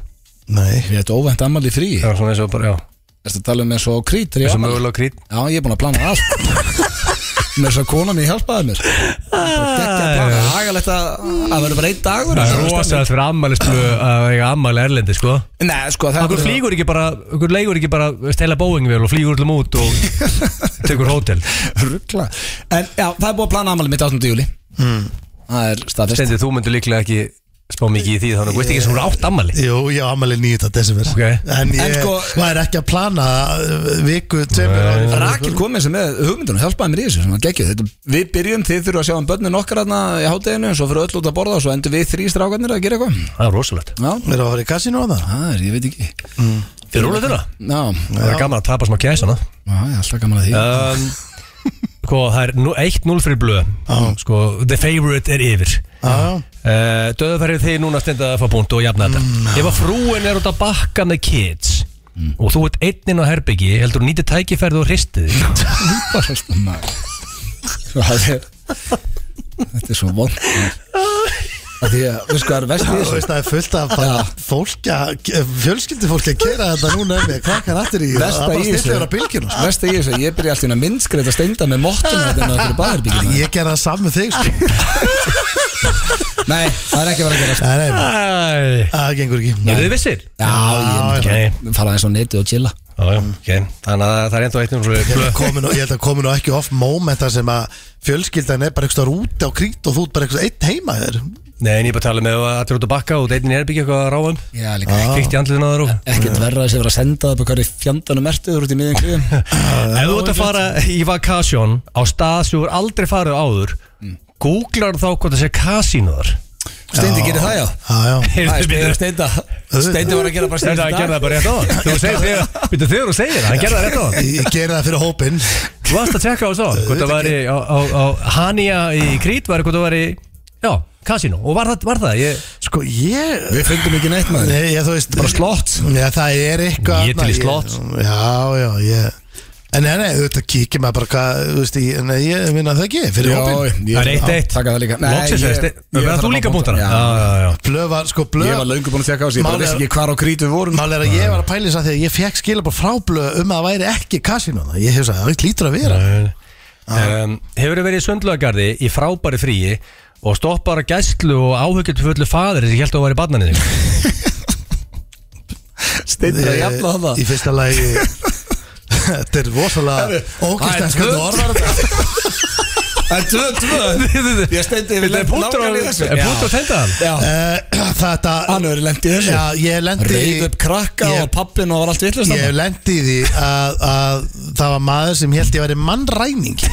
Nei, Ég hefði óvænt ammali frí Það var svona eins og bara, já Þess að tala um eins og krítur í Eins og ammali mögulega krít Já, ég er búin að plana allt Mér svo konan ég hjálpaði mér Ah. Það er hagalegt að það verður bara einn dagur Það er rosalegt fyrir ammælisblöð að eiga ammæli erlendi, sko Nei, sko, það Akkur flýgur ekki bara, akkur leigur ekki bara stela bóingvél og flýgur allum út og tekur hótel Ruggla En já, það er búið að plana ammali mitt 18. júli Það er staðfest Stendi, þú myndir líklega ekki spá mikið í því þannig, þú veist ekki sem hún átt ammæli jú, ég á ammali 9. desember Ok. En ég En sko- væri ekki að plana uh, viku, tveimur Nei. ári fram. Rakil kom eins og með hugmyndunum, hjálpaði mér í þessu sem var geggjuð. Þetta, Við byrjum, þið þurfum að sjá um börnin okkar hérna í hátæðinu Svo fyrir öll út að borða og svo endur við þrý strákarnir að gera eitthvað Það er rosalegt Já, Við erum að fara í kassinu á það það er, ég veit ekki Fyrir rúlega þeirra? Já, Það er gaman að tapa smá gæsana Já, ég er alltaf gaman að því um, Sko, það er nú- 1-0 fyrir blöð Sko, the favorite er yfir Já, uh, Döðfærið þig núna stendað að fá búnt og jafna þetta Ef að frúin er út að bakka með kids og þú ert einninn á herbyggi heldur hún nýti tækifærið og hristið þig Barasta maður Það er Þetta er svo vond að Því að, veist hvað er vest í þú þessu veist það er fullt af bara fólk að fjölskyldi fólk að gera þetta núna með krakkar aftur í Versta það er í bara þessu- stillur á bylgjuna sko. Vest í þessu, að ég byrja alltaf að minnskreita steinda með mottuna hérna þetta með okkur baðherbyggjum sko. Ég gerði það saman með þig sko. Nei, það er ekki að vera að gerast Nei, nei, Æ, það gengur ekki eru þið vissir? Já, ég Ok, okay. fara eins og netið og chilla já, já, ok Þannig að það er ennþá 1-0 fyrir Ég held blöð að komi nú- ég held að komi nú ekki off moment þar sem að fjölskyldan er bara eitthvað úti á krít og þú ert bara eitthvað eitt heima hjá þér Nei, en ég er bara að tala með að þú ert að bakka og einninn í herbyggi eitthvað að um. ráum Já, líka Kikti andliðin á þér og Ekkert verra þess að vera að senda það Hvað er fjandanum ertuður út í miðjum kvíðum Ef þú ert að fara í vakasjón á stað sem þú er aldrei farið áður Mm. Googlar þá hvort það sé kasínóðar Steindi gerir það já Já, já Það er steinda Steindi var að gera bara Þetta steindi hann gerði það bara rétt á það Þú segir þegar, býttu þegar þú segir það, hann gerði það rétt á það Ég gera það fyrir hópin Þú varst að tjekka á þess að hvort það væri á, á, á Hania í Krít væri hvort það væri, já, kasínó Og var það, var það, ég, Sko ég Við fundum ekki neitt maður Nei, ég, þú veist Bara slott Já, það er eitthvað Ég er til í annað, slott. Já, já, ég En nei, nei, auðvitað kíkja maður bara hvað, þú veist, ég, nei, ég minna það ekki fyrir hópin það er eitt eitt Takka það líka Nei, Loksins ég- er þetta, ég verða þarf þú að líka fá búntana punkta. Já, já, já Blöð var, sko, blöð Ég var löngu búin að þekka á þessu Ég bara Mál er- vissi ekki hvar á krítu við vorum Mál er að ég var að pæli þess að því að ég fekk skilabóð frá blöð um að það væri ekki kasinu Ég hef sagt, það lítur að vera Ah. um, Hefur verið í sundlögarði í frábæri fríi og stoppar að gæslu og áhugjöldu fullu fadir sem ég held að var í barnaninu Steindi er að jafna Eh, það Í fyrsta lagi Þetta er vosalega ógæstæns hvernig orðar þetta En tvö, tvö Ég steindi yfir Þetta er punktur á langan í þessu. er punktur á tendan Já, Eh, Þetta hann hefur lent í þessu Já, ég lendi Reyð upp krakka Ég- og pappin og var allt vittlust Ég hef lendi í því að, að það var maður sem held ég væri mannræning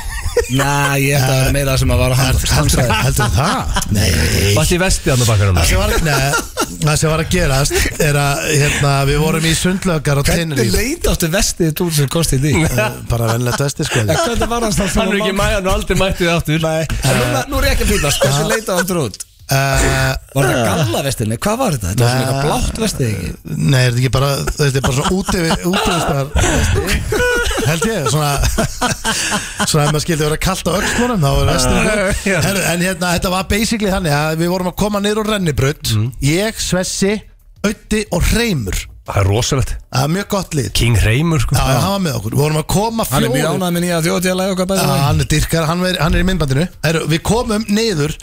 Næ, ég held að vera meira sem að vara hann Hann Heldur sagði heldur það? Nei Vast í vestið hann á bakkarum Það sem var, nei, það sem var að gerast er að hérna, við vorum í sundlögar á Hvernig Tenerife leiti áttu vestið þú sem kostið því? Eh, Bara vennlegt vestir sko En Hvernig var hans það sem Hann er ekki mál- mæðan og aldrei mættið aftur Nei, en núna, nú er ég ekki að sko. fýta Hversu leita áttur út? uh, Var þetta galla vestið? Nei, hvað var þetta? Þetta var svona eitthvað blátt vestið ekki? Nei, er þetta ekki bara Þetta er bara svona útivi- útivistar Held ég Svona Svona ef maður skildi vera kallt á öxlunum Þá er Ah, Já. vestur Herru, En hérna, þetta var basically þannig að Við vorum að koma niður á rennibraut Mm. Ég, Svessi, Ötti og Hreimur Það er rosalegt Það er mjög gott lið King Reymur sko Já, hann var með okkur Við vorum að koma Ah. Hann er mjög fjórum ánægð með nýja þjóðtíðalega okkar Já, bæði Ah, hann er dyrkar, hann er, hann er í myndbandinu Heru, Við komum niður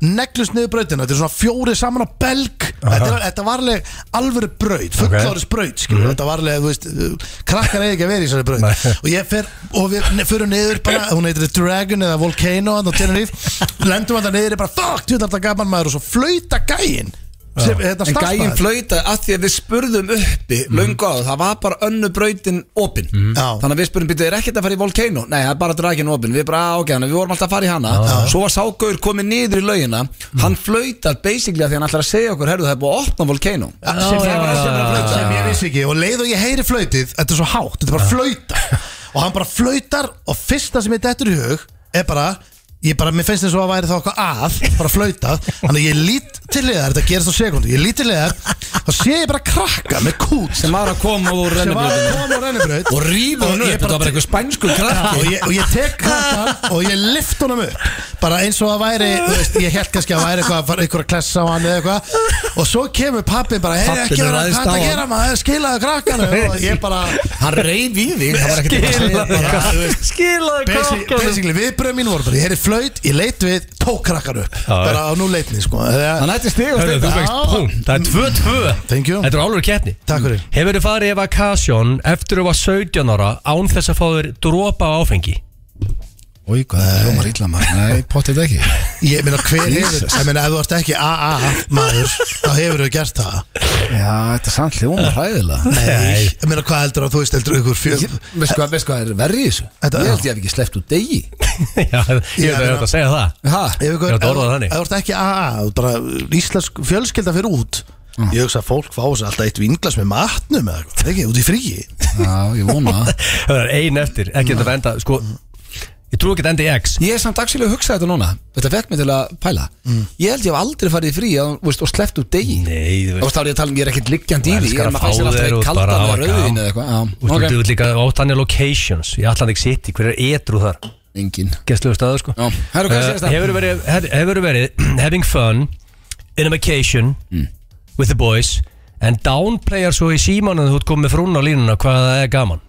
Neglust niður brautina, þetta er svona fjóri saman á belg þetta, er, þetta var alveg alvöru braut Fullóris braut, skilur Þetta var alveg, þú veist, uh, krakkar eða ekki að vera í þessari braut Nei. Og ég fer, og við ne- förum niður bara Hún heitir The Dragon eða Volcano Þannig á Tenerife, lendum hann það niður Ég bara, fuck, þetta er þetta gaman maður Og svo flauta gæinn sem, En hérna, gæinn starfsmaður flauta að því að við spurðum uppi Löngu áður, það var bara önnu brautin opin Já. Þannig að við spurðum, býttu, er ekkert að fara í Volcano? Nei, það er bara drakin opin, við bara ágæð hana Við vorum alltaf að fara í hana Svo var Ságaur komið niður í laugina Hann flautar basically að því hann ætlar að segja okkur Herðu, það er búið að opna Volcano sem, ég var að semja flöyt sem ég vissi ekki og leið og ég heyri flöytið, þetta er svo hátt þetta er bara flöyta og hann bara flöytar og fyrsta sem ég dettur í hug er bara, ég bara, mér finnst þess að væri þá eitthvað að, bara flöytað þannig að ég lít til liðar, þetta gerist á sekundu ég lít til liðar, þá sé ég bara krakka með kút Sem var að koma úr sem var að rennubrautinni koma á rennibraut Og rífa hann upp, Og ég þetta bara- var bara einhver spænsku og krakki ég, og ég tek krakkan og ég lift honum upp bara eins og að væri, þú veist, ég held kannski að væri eitthvað, að fara einhver að klessa á hann eða eitthvað og svo kemur pappin bara, heyri Pabbinn ekki er vera ræðst hvað á það hann." gera maður, skilaðu krakkanu og ég bara Hann reyð í því, það var ekkert eitthvað að segja bara, þú veist, Skilaðu Basically, basically viðbröð mín voru bara, ég heyri flaut, ég leit við, tók krakkar upp bara á nú leitni, sko Hann Þegar, ætti stig og Hörðu, stig þú veist, Já. pum, það er 2-2 Thank you. Þetta er álur keppni Takk fyrir. Hefur þið farið í vakasjón eftir þú var 17 ára án þess að fá þér dropa af áfengi? Úi, hvað það er hljómar illa maður Nei, pottið ekki ég meina, hver hefur ég meina, ef þú ert ekki AA maður þá hefur þau gert það Já, þetta er samt hljómar hræðilega Nei, ég meina, hvað heldur að þú veist heldur ykkur fjör Veist hvað, veist hvað er verrið í þessu? Þetta- Ég held ég hef ekki sleppt úr degi Já, ég Já, veit að já. þetta segja það Ha? Ef ykkur- Ég ef átti að orða það ef þannig. þú ert ekki AA, þú bara íslensk fjölskylda fyrir út Ég hugsa að fólk fá þessi alltaf eitt vinglas með matnum eða eitthvað, ekki, út í fríi Já, ég vona það Það er ein eftir, ekki Mm. þetta enda, sko Ég trú ekki þetta enda í X Ég er samt dagsílu að hugsa þetta núna Þetta fekk mig til að pæla Ég held ég hef aldrei farið í frí að, veist, og sleppt úr degi Mm. Nei, þú Þú veist þá er ég að tala um ég er ekkert liggjandi í því Ég Elskar er að maður fæsir fá alltaf þér eitt út kaldan eða bara að vaka á. rauðin eða eitthvað Já, Þú veist, þú ok. ert líka á þannig locations í Atlantic City, hver er etru þar? Engin Gæstlegu staður, sko Já, herru, hvað sést það? Hefur verið, hef- hefurðu verið having fun in a vacation Mm. with the boys and downplayar svo í símanu þú ert komið með frún á línuna hvað það er gaman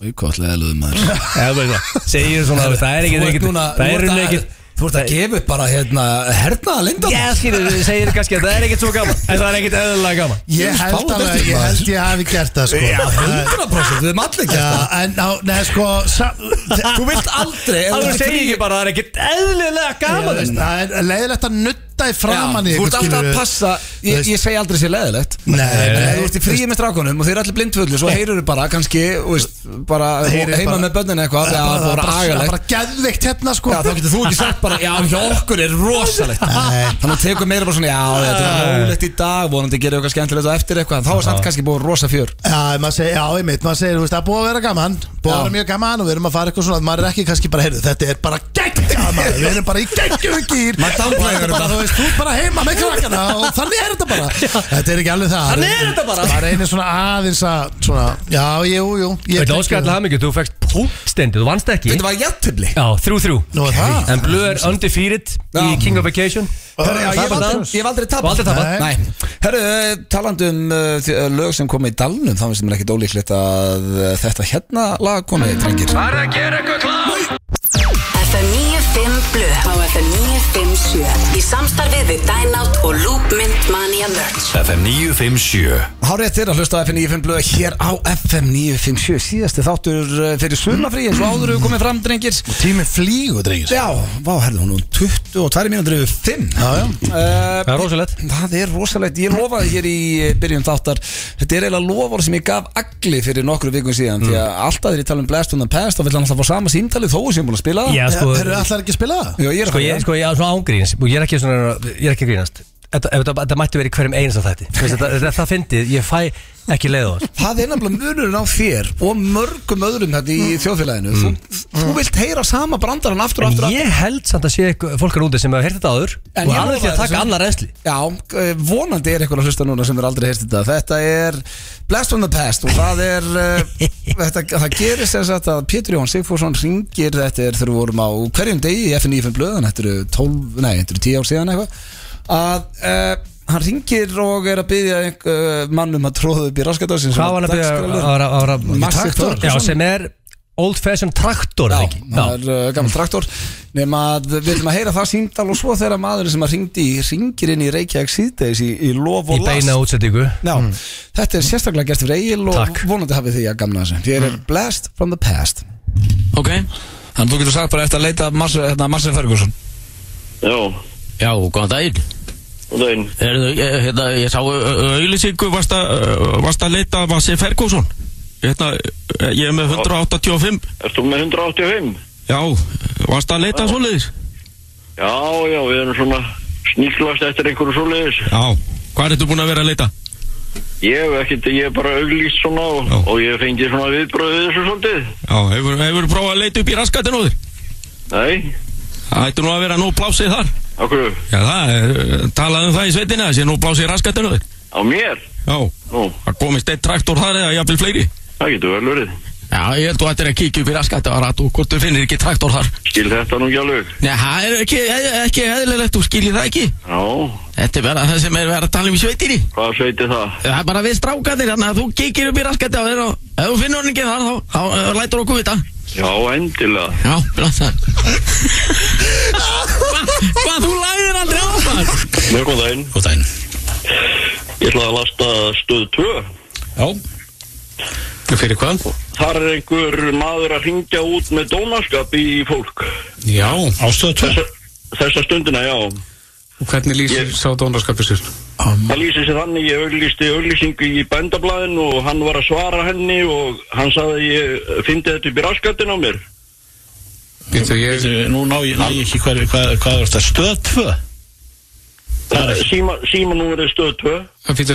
Úi, hvað ætlaði að löðum maður Eða þú veist það, segir svona þú veist, það er Þú ekkert ert ekkert- núna það er þú ert ekkert að- ekkert Þú ert að gefa upp bara hérna hernaða lindan Já, skilur, þú segir kannski að það er ekkert svo gaman en það er ekkert eðlulega gaman Ég held fáið alveg, eftir ég maður. held ég hafi gert það sko Já, 100% við erum allir ekki Já, en á, neða sko sa- Þú vilt aldrei ef Það þú er ert segir ekki bara að það er ekkert eðlulega Þú gaman veist, Það er leiðilegt að nutta í framann í Já, Þú ykkur, ert alltaf skilurðu. að passa Þú Ég, veist- ég segi aldrei sér leðilegt Nei, En nei, ef þú ert í fríi með strákunum og þeir eru allir blindfullu Svo heyrur þú bara kannski þú veist, bara, Heyrir heima bara- með börnin eitthvað Já, það það er bara bara, agalegt bara geðveikt hérna sko Já, þá getur þú ekki sagt bara, já, hjá okkur er rosalegt Þannig að tekur meira bara svona, já, þetta er rólegt í dag Vonandi gerir eitthvað skemmtilegt og eftir eitthvað en Þá er samt kannski búið rosa fjör Já, maður segir, já, ég maður segir, þú veist, það er búið að vera gaman Búið að Já. vera mjög gaman og við erum að fara eitthvað svona Maður er ekki kannski bara, heyrðu, þetta er bara geggjum maður Við erum bara í geggjum gýr Maður downplayer bara, þetta. Þú veist, þú ert bara heima með krakkana og þannig er þetta bara Þetta er ekki alveg það Þannig er þetta bara. Það reynir svona aðeins að, svona, já, jú, jú Þú ég veit, tek Óskar, það. allir hamingju, þú fækst punktstendi, þú vannst ekki Þetta var jættubli Já, 3-3 Nú er það. En Blue er undefeated í Já. King of Vacation Hörru, já, ég hef Tapað aldrei, dans. ég hef aldrei tapað Aldrei tapað. Nei. Nei. Hörru, eh, talandi um uh, þi- eh, lög sem komi í dalnum Þá finnst mér ekkit ólíklegt að eh, þetta hérna lag komi, drengir Hvað er að gera eitthvað klár? FM 95 Blu á FM 957 í samstarfið við Dynout og Loop Mint Mania Merch FM 957 Hárið þeirra hlusta á FM 95 blöða hér á FM 957 síðasti þáttur eh, fyrir sumafrí eins og áður hefur komið fram drengir Tíminn flýgur, drengir Já, vá, herðu hún er 22 mínútur yfir 5 Já, já. Það er rosalegt Það er rosalegt, ég lofaði hér í eh, byrjun þáttar Þetta er eiginlega lofar sem ég gaf agli fyrir nokkru vikum síðan Því Mm. að alltaf þegar ég tala um Blast on the Past þá vill hann alltaf fá sama símtali þó sem búin að spila það Já, sko, Þeir eru allar ekki að spila það? Já, ég er að sko, fara ég, í það. sko, ég er svona ángríns og ég er ekki, svona, ég er ekki að grínast Þetta, ef þetta, þetta mætti verið í hverjum einasta þætti Þú veist, þetta, þetta, Það fyndið, ég fæ ekki leið á það Það er nefnilega munurinn á þér og mörgum öðrum þetta Mm. í þjóðfélaginu þú, þú vilt heyra sama brandarann aftur og En aftur og aftur. ég held samt að sé eitthvað- fólk er úti sem hefur heyrt þetta áður En og ég alveg lofaði til að taka þessu. annar reynsli Já, eh, vonandi er eitthvað að hlusta núna sem er aldrei heyrst þetta Þetta er Blast from the Past og það er eh, þetta, það gerist þess að Pétur Jóhann Sigfússon ringir þetta er þegar við vorum á hverjum degi í FNF blöðan, þetta eru 12, nei, þetta eru 10 ár síðan eitthvað að uh, hann ringir og er að byggja uh, mannum að tróða upp í raskatásin Hvað var hann að byrja að Massive traktor? Já, Ferguson. sem er old fashioned traktor Já, eða ekki? það er uh, gammal traktor nema að við viljum að heyra það síndal og svo þegar maðurinn sem að ringdi í ringir inn í Reykjavík síðdeis í, í lof Í og last beina útsettingu Já, þetta er sérstaklega gert fyrir Egil og Takk. vonandi hafið því að gamna þessu Þér Mm. er blessed from the past Ok Þannig að þú getur sagt bara eftir að leita Marcel Ferguson Já, Já, góðan daginn laun Erðu, ég, hérna, ég sá auðlýsingu varst, að- varst að leita að Vassi Ferguson hérna, eh, Ég er með 185 Ert þú með 185? Já, varst að leita svoleiðis Já, já, við erum svona sníklast eftir einhverju svoleiðis Já, hvað ertu búin að vera að leita? Ég hef ekkert, ég hef bara auglýst svona og, og ég hef fengið svona viðbröðið þessu svolítið Já, hefur, hefur prófað að leita upp í raskatinn úr Nei, Það ættu nú að vera nóg plásið þar okkur, Já, það er, eh, talað um það í sveitinni Það sé nú plásið í raskatinn úr á mér Já, Nú. það komist eitt traktor þar eða jafnvel fleiri Það getur vel verið Já, ég held þú ættir að kíkja upp í raskatinn og rættu hvort þú finnir ekki traktor þar Skil þetta nú ekki alveg Nei, það er ekki, e, ekki eðlilegt, þú skilir það ekki Já, Þetta er bara það sem er verið að tala um í sveitinni hvað sveiti það? Það er bara við strákanir, þannig að þú kíkir upp í raskætti á þér og ef þú finnur hann ekki þar, þá, þá, þá lætur okkur vita Já, endilega Já, blast það Hvað, hva, þú læðir aldrei á það? Mjög góð daginn Góð daginn Ég ætla að lasta stöð 2 Já Fyrir hvað? Þar er einhver maður að ringja út með dónaskap í fólk Já, ástöðu tvö Þessa stundina, já Og hvernig lýsir sá dónarskapið sér? Það lýsir sér þannig, ég auglýsti auglýsingu í bændablaðin og hann var að svara henni og hann sagði að ég fyndi þetta upp í raskatinn á mér. Býttu, ég... Nú ná ég, ná ég ekki hver, hvað, hvað er þetta, stöð tvö? Síma, síma nú er stöð 2, Býttu,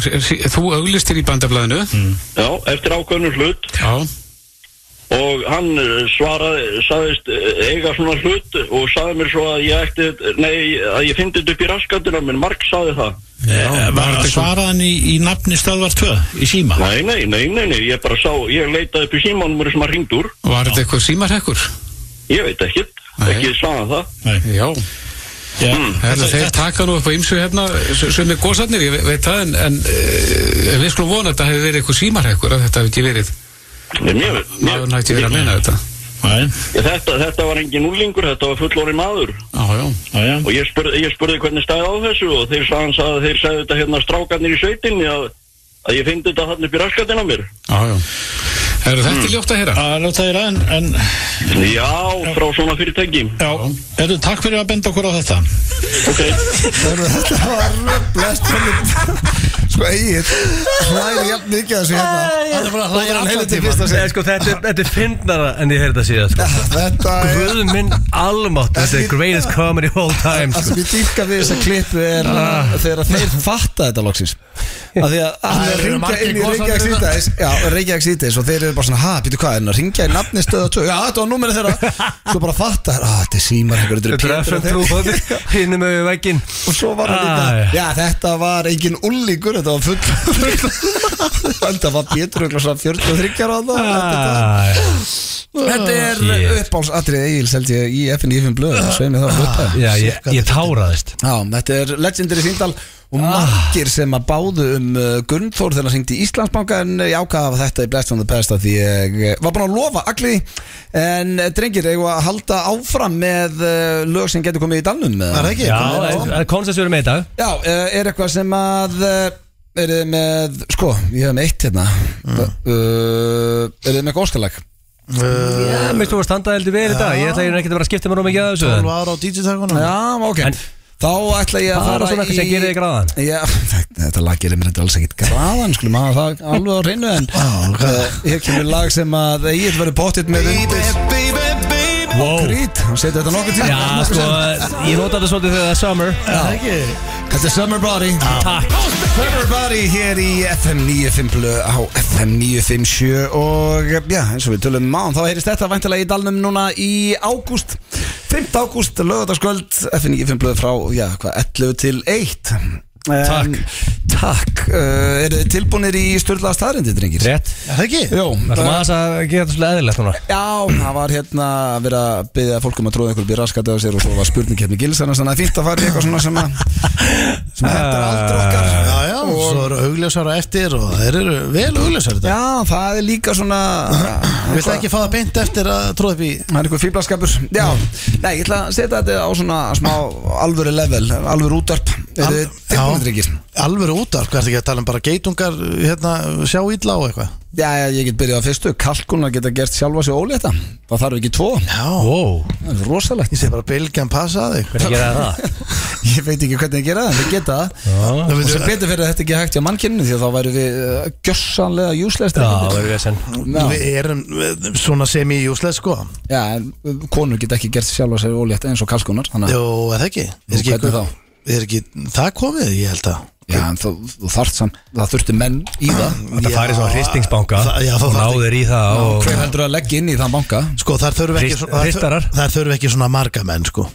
þú auglistir í bandablaðinu Mm. já, eftir ákveðnum hlut Já og hann eh, svaraði, sagðist eh, eiga svona hlut og sagði mér svo að ég ætti, nei, að ég fyndi þetta upp í raskatinn á mér, Mark sagði það. Já, Eh, var þetta svaraðan í, í nafni stöðvar tvö, í síma? Nei, nei, nei, nei, nei, ég bara sá, ég leitaði upp í símanumur sem að ringd úr, Var þetta eitthvað símarhekkur? ég veit ekkert, ekki sagði það. Hmm. Nei Já Já, Herðu, þeir taka nú upp á hérna, ymsu hefna sem er góðsarnir, ég ve- veit það en, en eh, við skulum vona að þetta hefur verið eitthvað símarhekkur að þetta hefur ekki verið Nei, mér, mér, maður nætti verið að meina þetta Nei. Ég, Þetta, þetta var engin úlingur, þetta var fullorinn maður Já, já, já, já. og ég spurði, ég spurði hvernig stæði á þessu og þeir sagði, sagði, þeir sagði þetta hérna strákarnir í sveitinni að, að ég fyndi þetta hann upp í raskatinn á mér Já, já. Er þetta mm. ljótt að heyra? Já, ljótt að heyra, en, en Já, frá svona fyrirtæki Já, eru, takk fyrir að benda okkur á þetta Þetta var röfblest Sko eigið Hlæri jafn mikið að þessu hérna Það er bara að hlæra heilu til fyrsta Nei, sko, þetta, er- þetta er fyndnara en ég heyrði það síðan sko. Þetta er Guð minn almátt Þetta er greatest comedy of all time Það sem sko. ég dýrka við þessa klippu er Ah. að þegar þeir fatta þetta loksins að því að hann er að eru ringja margir inn í góðsarnir Reykjavík þarna. síðdæðis já, Reykjavík síðdæðis og þeir eru bara svona ha, býtu hvað, en að ringja í nafni stöða 2 já, þetta var númerið þeirra svo bara fatta þeir, að þetta er símar einhver, Þetta er Pétur og FN þeir." trúfóði Hinnum auðvitað vegginn og svo var hann Ah, líka já, þetta var engin ullíkur þetta var full full- þetta var Pétur og svona 43 ára þarna, Ah, þetta Þetta er uppáhaldsatrið Egil held ég í FNF blöð Sveið mér það upp Ah, Já, ég, ég táraðist Já, þetta er legendary síndal og Ah. margir sem að báðu um uh, Gunnþór þegar hann syngdi í Íslandsbanka en ég ákvaða að hafa þetta í Blast from the Past af því ég eh, var búin að lofa allir því en eh, drengir, eigum við að halda áfram með uh, lög sem getur komið í dalnum eða? Já, það er um konsensurum með í dag Já, eh, er eitthvað sem að eh, eru þið með, sko, ég hef með eitt hérna mm. uh, eru þið með eitthvað óskalag? Já, Mér þú að standa heldur vel í dag Ég ætla ég ekki að vera að skipta mér um ekki að þessu 12 ára á DJ-takunum Já, ok Þá ætla ég að Bara fara svona eitthvað sem gerir þig gráðan. Já, þetta- þetta lag gerir mér þetta alls ekkit gráðan Skulum hafa það alveg á reynu En uh, hér kemur lag sem að Ég vil verið bóttið með undir Wow. Grít, hún setur þetta nokkuð tíma Já, sko, ég nota þetta svolítið þegar það er summer Þetta er Summer Body Takk Summer Body hér í FM 95 blö á FM 957 og já, eins og við tölum máum þá heyrist þetta væntilega í dalnum núna í ágúst 5. ágúst, lögadagskvöld FM 95 blö frá, já, hvað, 11 til 1 Takk Takk, uh, eru þið tilbúinir í störðlega staðrindi, drengir? Rétt Er það ekki? Jó, Það er maður að gera þetta svolítið eðlilegt núna Já, það var hérna að vera að byggja fólkum að tróða einhverju býr raskat af sér og svo var spurning hérna gilsana þannig að fínt að fara í eitthvað svona sem að sem hendur aldrei okkar Já, já, svo eru augljósar á eftir og þeir eru vel augljósar þetta Já, það er líka svona Við ætla ekki að fá það beint eftir að tróða upp í Það er einhver fýblaskapur Já, nei, ég ætla að setja þetta á svona smá alvöru level, alvöru útvarp Er þið tilbúinir ekki? Alvöru útar, hvað er ekki að tala um bara geitungar hérna, sjá illa og eitthvað Já, já, ég get byrjað á fyrstu Kalkunar geta gert sjálfa sig ólétta Það þarf ekki tvo Já, wow. það er rosalegt Ég segi bara bylgjan passa að þig Hvernig gera það? Ég veit ekki hvernig þið gera það, en þið geta það Og sem betur fyrir að þetta er ekki hægt hjá mannkynni Því að þá væru við uh, gjössanlega useless Já, væru við sen Við erum við, svona semi-useless sko Já, en uh, konur geta ekki gert sjálfa sér ólétt eins og kalskunar Þannig Jó, er það ekki? Er ekki Hvernig þá? Er ekki, það komið, ég held að Já, en þú, þú þarft samt, það þurfti menn í það Þetta farið svona hristingsbanka Það- já, það og þarf náðir í það og og hver heldur að leggja inn í þann banka Sko, þar þurfum við ekki, Hrist- svona- þar þur- hristarar. þar þurfum við ekki svona marga menn sko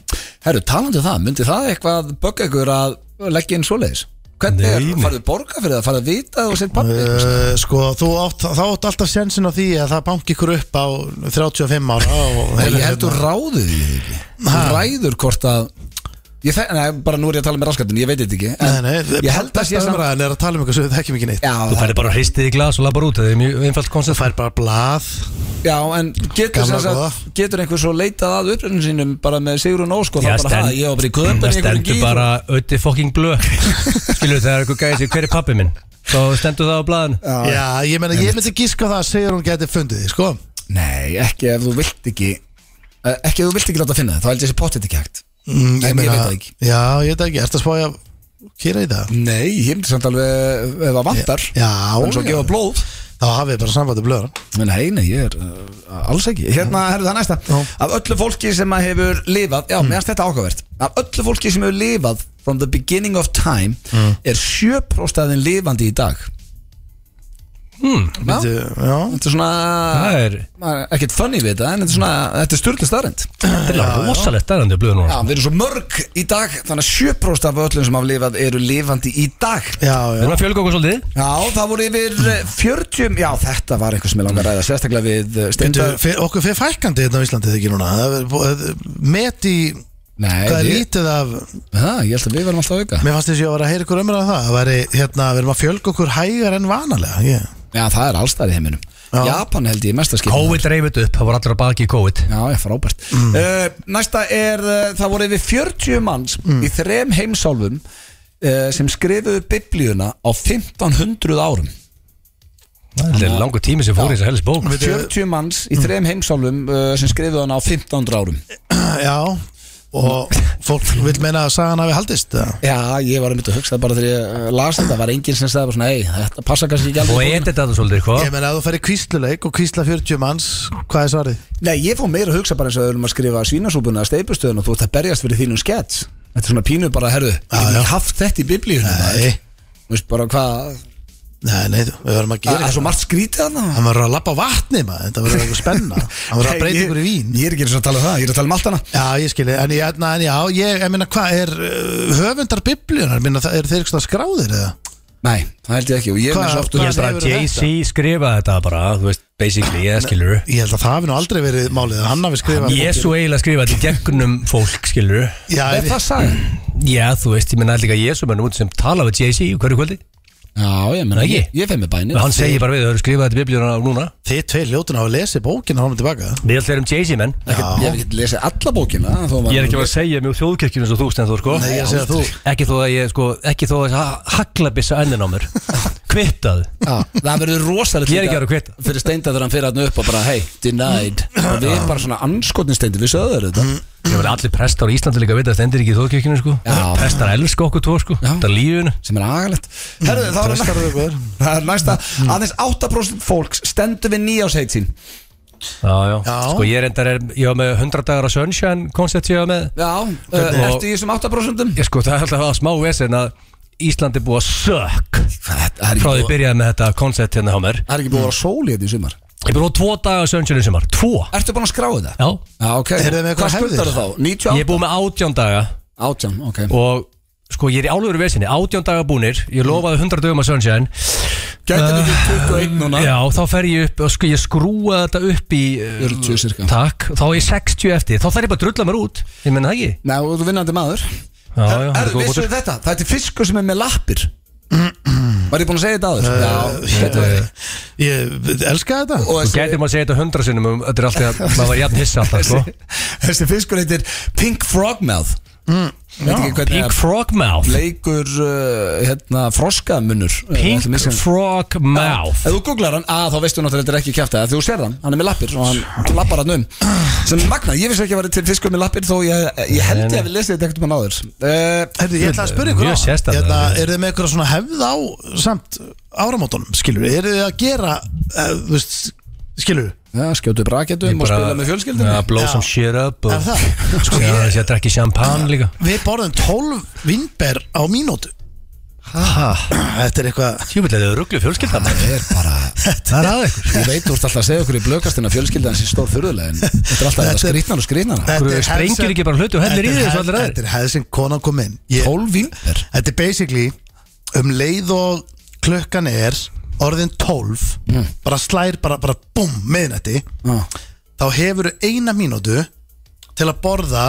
Herru, talandi um það, myndi það eitthvað bögga ykkur að leggja inn svoleiðis? Hvernig er, Nei, nei. farið þið borga fyrir það, farið þið vita og sér pappi? Uh, sko, þú átt, þá átt alltaf sensin á því að það banki ykkur upp á 35 ára og hérna, Nei, ég held þú ráðu því þig ekki Þú ræður hvort að ég þek, nei, bara nú er ég að tala með raskatin, ég veit þetta ekki Nei, nei, ég held að sé besta samt- umræðan er að tala um eitthvað sem við þekkjum ekki neitt Já, þú færði bara hristið í glas og lappar út það er mjög einfalt Þú koncept fær bara blað já en getur, Gamla sem góða. sagt, getur einhver svo leitað að upprennum sínum bara með Sigrun Ósk og þá Já, bara stend- Mm, það, ég var bara í köpun það stendur bara ötti fokking blöð skilur þegar eitthvað gæði sig hver er pappi minn þá stendur það á blaðan Já, ég meina, ég myndi gíska það að segja hún geti fundið því, sko Nei, ekki ef þú vilt ekki eh, ekki ef þú vilt ekki láta finna það þá held ég þessi pottet ekki hægt Mm, En ég veit það ekki. Já, ég veit það ekki, ertu að spája kýra í það? Nei, ég myndi samt alveg ef það vantar Já, en svo að gefa blóð Þá hafið þið bara samvættu blöðan Nei, nei, ég er uh, alls ekki Hérna er það næsta Af öllu fólki sem að hefur lifað Já, mm. meðan þetta ákvæmvert Af öllu fólki sem hefur lifað From the beginning of time Er sjöpróstaðin lifandi í dag Já, Bíddu, Já, Hmm. þetta er svona það er maður er Ekkert funny við þetta En þetta er svona Þetta er styrlu starrend þetta er rosalegt stærðandi blöð Já, núna við erum svo mörg í dag Þannig að sjöpróst af öllum sem hafa lifað Eru lifandi í dag já, við já erum að fjölga okkur svolítið Já, það voru yfir eh, 40 Já, þetta var eitthvað sem ég langar að ræða Sérstaklega við eh, Bindu, steindu fyr, Okkur fyrir fækandi hérna á Íslandi þegar ekki núna Það er búið- Met í, Nei, hvað er við, lítið af það, ég held að við varum alltaf að auka Mér fannst þess að ég var að heyra ykkur umræða það Það væri, hérna, við erum að fjölga okkur hægar en vanalega yeah. Já, það er allstæði heiminum Já. Japan held ég mest að skipta COVID reyfið upp, það voru allir að baki í COVID Já, ég frábært uh, Næsta er, uh, það voru yfir 40 manns í þrem heimsálfum uh, sem skrifuðu biblíuna á 1500 árum þetta er langur tími sem fór í þess að helst bók 40 manns í þrem heimsálfum uh, sem skrifuðu hana á 1500 árum Já, og fólk vil meina að sagan hafi haldist eða? Já, ég var að mynda að hugsa það bara þegar ég uh, las þetta var enginn sem sagði bara svona, ei, þetta passa kannski ekki og alveg í er bókina." þetta það svolítið sko. hvað? Ég meina að þú færi kvísluleik og kvísla 40 manns Hvað er svarið? Nei, ég fór meira að hugsa bara eins og við erum að skrifa svínasúpuna að steipustöðun og þú ert að berjast fyrir þínum skets Þetta er svona pínu bara, herru, ég já. hef haft þetta í biblíuna Nei, Þú veist bara hvað nei, nei, þú- við verðum að Það gera er svo eitthvað. margt skrítið að það Hann verður að lappa vatni maður, þetta verður eitthvað spenna Hann verður að breyta ykkur í vín Ég er ekki eins og að tala um það, ég er að tala um allt hana Já, ég skilji, en, ég- en, en já, ég, ég meina hvað er uh, höfundar biblíunar, minna, það- eru þeir eitthvað skráðir eða? Nei, það held ég ekki og ég Hvað- er svo aftur Ég hvað- held að hefur Jay-Z skrifaði þetta bara, þú veist, basically, ég skilur Ég held að það hafi nú aldrei verið málið að hann hafi skrifað Jésu eiginlega skrifaði þetta í gegnum fólk, skilur Já, Er ég, það sagði? Já, þú veist, ég menna líka Jésu mennum út sem tala við Jay-Z í hverju kvöldi Já, ég meina, Nei, ekki. ég, ég feg með bænir og hann segir bara við, þau eru skrifaði þetta í biblíuna núna þið tveir ljótun hafa lesið bókina honum tilbaka Við alltaf erum Jay-Z menn Ég hef ekki lesið alla bókina þó var- Ég er ekki að fara að segja mjög þjóðkirkjum eins og þú stendur sko. Nei, ég er að segja að þú- Ekki þó að ég sko, ekki þó að þessi haglabissa ennin á mér Kvittað Já, það verður rosalega Ég er ekki að vera að kvitta. Fyrir steinda þegar hann fyrir hann upp og bara Hey, denied Og við bara svona anskotin steindi Við sögðu þér þetta Ég var allir prestar á Íslandi líka að vita að stendir ekki í þjóðkirkjunni sko. Já. Prestar elska okkur tvo sko. Já. Það er lífinu Sem er agalegt Herðu, þá er næsta Það er næsta Aðeins 8% fólks Stendur við nýjásheitt sín já, já. Já. Sko, ég, reyndar er, ég var með 100 dagar á Sunshine koncept ég var með Já, uh, ertu í þessum 8%? ég, sko, Það er alltaf að smá vesen að Íslandi búið að sökk Það er ekki Frá því búið- byrjaði með þetta koncept hérna hjá mér það er ekki búið að vera sóli þetta í sumar Ég búið á tvo dagar á Sunshine í sumar Tvo Ertu búin að skráa þetta? Já Já, ok Eruð þið með Hvað eitthvað hefðir? skuldar þá? Ég er 98? búið með 18 daga 18, ok og sko ég er í álöfuru vesinni 18 daga búnir, ég lofaði 100 dögum að Sunshine Gæti Eh, þetta 21 núna Já, þá fer ég upp og sko ég skrúa þetta upp í eh, 40 cirka. Takk, þá er ég 60 eftir, þá þarf ég bara að drulla mér út Ég menna það ekki Nei, og þú vinnandi maður Já, já, það Er, er góð vissu bútur. þetta? Það er fiskur sem er með lappir Var ég búin að segja þetta aður? Já, þetta var ég, ég elska þetta Og Þú gætir maður að segja þetta 100 sinnum um- Þetta er alltaf, maður var jafn hissa alltaf sko þessi, þessi fiskur heitir Pink Frogmouth mm, já. Pink frog mouth Leikur, uh, hérna, froskamunur Pink frog mouth Ef þú googlar hann, að þá veistu náttúrulega þetta er ekki kjæfta Þú sér hann, hann er með lappir og hann, hann lappar hann um Sem magna, ég vissi ekki að vera til fiskur með lappir Þó ég, ég held ég að við lesið þetta ekkert um hann áður uh, Ég ætla að spyrja ykkur á hérna, Er þið með eitthvað svona hefð á samt áramótunum, skilur við? Er þið að gera, uh, þú veist, skilur við? Já, skjótu braketum og spila með fjölskyldinni Já, blow some shit up og Er það? Sko, ég Það sé að drekki champagne líka Við borðum 12 vinnber á mínútu Ha, Þetta er eitthvað Tjúbillega, þau rugglu fjölskyldan Það er bara, það er aðeins Ég veit, þú ert alltaf að segja okkur í blökastin að fjölskyldan sé stór furðulega En þetta er alltaf að skrýtnar og skrýtnar Þetta er hefð sem- Þetta er hefð- Þetta Þetta er hefð sem konan kom inn Ég- 12 vínber Þetta er basically um leið og klukkan er orðin 12 Mm. bara slær, bara, bara búm, meðnætti þá hefur eina mínútu til að borða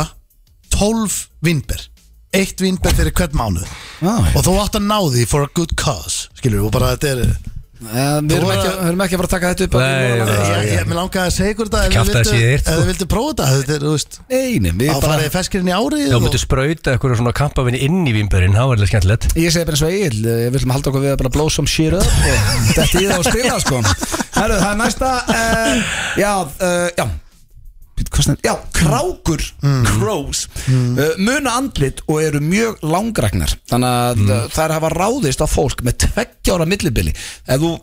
12 vinnber eitt vinnber fyrir hvern mánuð Já. og þú átt að ná því for a good cause skilur og bara þetta er er Við erum ekki að- við erum ekki að fara að taka þetta upp Ég, ég, mér langaði að segja ykkur þetta ef þið Kjaftaði vildu- síðir, ef sko. þið vildu prófa þetta þetta er, þú veist Einu, við þá bara farið þið feskurinn í árið Þá og- myndu sprauta eitthvað svona kampavinni inn í vimberinn Það var alveg skemmtilegt Ég segi bara eins og Egil, eh, við viljum halda okkur við að bara blow some shit up og þetta í það og spila sko Herru, það er næsta uh, Já, uh, já Bíddu, hvað stendur? Já, krákur Crows uh, muna andlit og eru mjög langræknar þannig að mm. það er að hafa ráðist á fólk með tveggjára millibili ef þú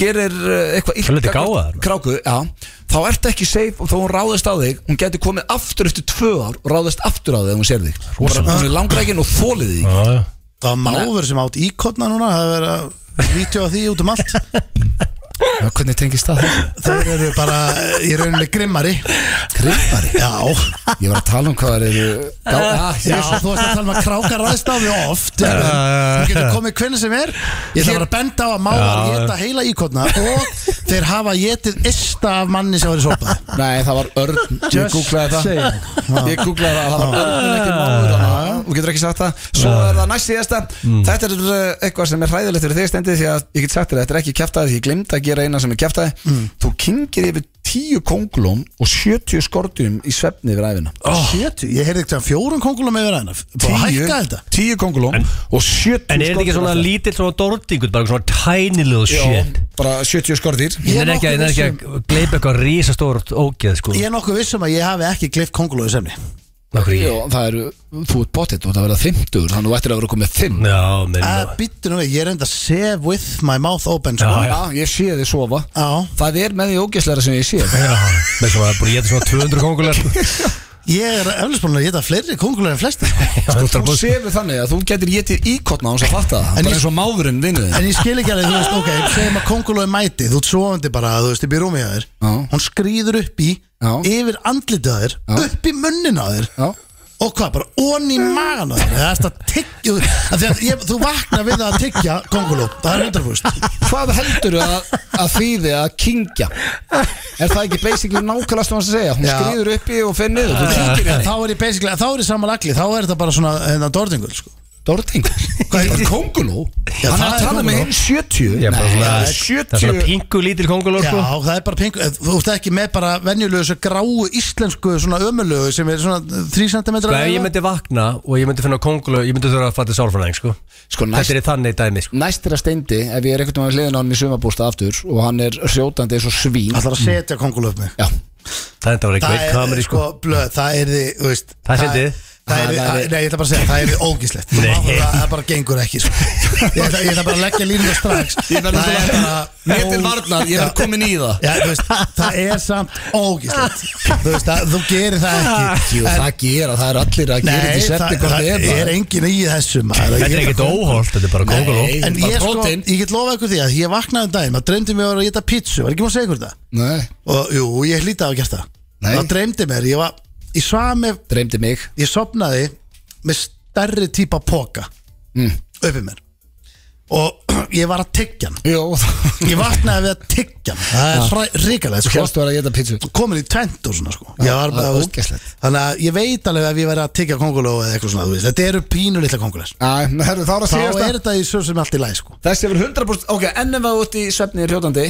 gerir uh, eitthvað illt Helviti gáfaðar. gagnvart kráku, já, þá ertu ekki safe og þó hún ráðist á þig, hún getur komið aftur eftir tvö ár og ráðist aftur á þig ef hún sér þig bara Rosalegt. hún er langrækin og þólið þig Já, já það var máver sem átt íkotna núna það er að vítja á því út um allt Já, hvernig tengist það? þeir eru bara í rauninni grimmari Grimmari? já, Ég var að tala um hvað það eru Gá, ah, já þú veist að tala um að krákar ræðst á því oft en þú getur komið hvernig sem er ég ætla bara að benda á að mávar Já. geta heila íkotna og þeir hafa getið ysta af manni sem var í sopa Nei, það var örn, ég Just googlaði saying. það Ég googlaði það, það var Ah. örn en ekki máður þannig að Þú getur ekki sagt það Svo er það næst síðasta Mm. Þetta er uh, eitthvað sem er hræðilegt fyrir þig stendið Því að ég get sagt þér, að þetta er ekki kjæftaði Því ég glemd að gera eina sem er kjæftaði Mm. Þú kingir yfir tíu kongulóm og 70 skortum í svefni yfir æfina Shit, ég heyrði ekki að fjórum kongulum hefur aðeina Búið að hækka þetta Oh. Tíu kongulóm og 70 En er þetta ekki skordýr svona eftir. lítill svona dordingur Bara svona tiny little shit Jó, bara 70 skortir Ég er ekki, ég er ekki að gleypa eitthvað risastórt ógeð sko Ég er nokkuð vissum að ég hafi ekki gleift kongulum í semni Nákvæmlega ekki. Jó, það eru, þú ert bóttið, þú ert að vera 50 þannig að þú ættir að vera komið 5 Já, menn uh, Býttu nú við, ég er enda sef with my mouth open sko. Já, ég sé þið sofa Já. Það er með því ógæsleira sem ég sé Já, með svona búin að geta svona 200 kongular Ég er eflaust búin að geta fleiri kongulum en sko. flesti Þú sefur þannig að þú getur getið íkotna hans að fatta það En Bara ég- eins og máðurinn vinnuðin En ég skil ekki alveg, þú veist, ok, segjum að kongulum mæti Þú ert svovandi bara, þú veist, upp í rúmi að þér Já. Hún skrýður upp í, yfir andlitið að þér Upp í munnin að þér Já. Og hvað, bara onni í magan á þér Það er þetta tyggju af því að ég- Þú vaknar við það að tyggja kongulum Það er hundarfúst Hvað heldur að, að þýði að kingja? Er það ekki basically nákvæmlega sem hans að segja? Hún Já. skrýður uppi og fer niður Þú kíkir Þá er ég basically, þá er ég samanlagli Þá er þetta bara svona, hérna, dordingur, sko Dordingur? Hvað er það? Konguló? Já, Hann það er er að tala könguló. með hinn 70 Já, bara Nei, svona- það er Það er svona 70 pingu lítil kongulor Já, sko það er bara pingu Þú ert ekki með bara venjulegu þessu gráu íslensku svona ömulegu sem er svona 3 cm Sko ef ég myndi vakna og ég myndi finna kongulor Ég myndi þurfa að fatta sálfræðing sko Sko, næst- Þetta er þannig dæmi sko Næst er að steindi ef ég er einhvern veginn hliðin á hann í sumabústa aftur og hann er hrjótandi eins og svín Það er að setja kongulöf mig Já, Þetta var Það eitthvað er kameri sko sko blöð, það er því, þú veist Það er fyndið. Það er því, Það er- nei ég ætla bara að segja, það er því ógislegt Nei. Það bara gengur ekki sko. ég, ætla, ég ætla bara að leggja línuna strax Ég verður Það er svona- bara Mér til varnar, ég verður komin í það Já, þú veist, það er samt ógislegt Þú veist, það, þú gerir það ekki Jú, það gera, það er allir að gera Nei, þetta í svefni það, hvort það þið er er engin í þessum Þetta er ekkert óholt, þetta er bara konguló Nei. En Bara ég sko, prótein. ég get lofað ykkur því að ég vaknaði um daginn, maður dreymdi mig að vera að geta pítsu, var ekki maður að segja ykkur það? Nei, Og jú, ég hlýtaði að hafa gert það. Nei. Það dreymdi mér, ég var, ég svað með, dreymdi mig ég sopnaði með stærri típa póka Mm. uppi mér. Og ég var að tyggja hann. Jó, Ég vaknaði við að tyggja hann. Það er ríkalegt, þú sko. Ah. fórstu að vera að geta pítsu Komin í tvent og svona, sko. Ég var það er bara, ógeðslegt. þannig að ég veit alveg að ég væri að tyggja konguló eða eitthvað svona, þú veist. Þetta eru pínu litla kongular. Æ, menn herru, þá er að Þá segjast er það þetta í svo sem allt í læg, sko. Mm. Þessi hefur 100% Ok, ennum að út í svefni er hrjótandi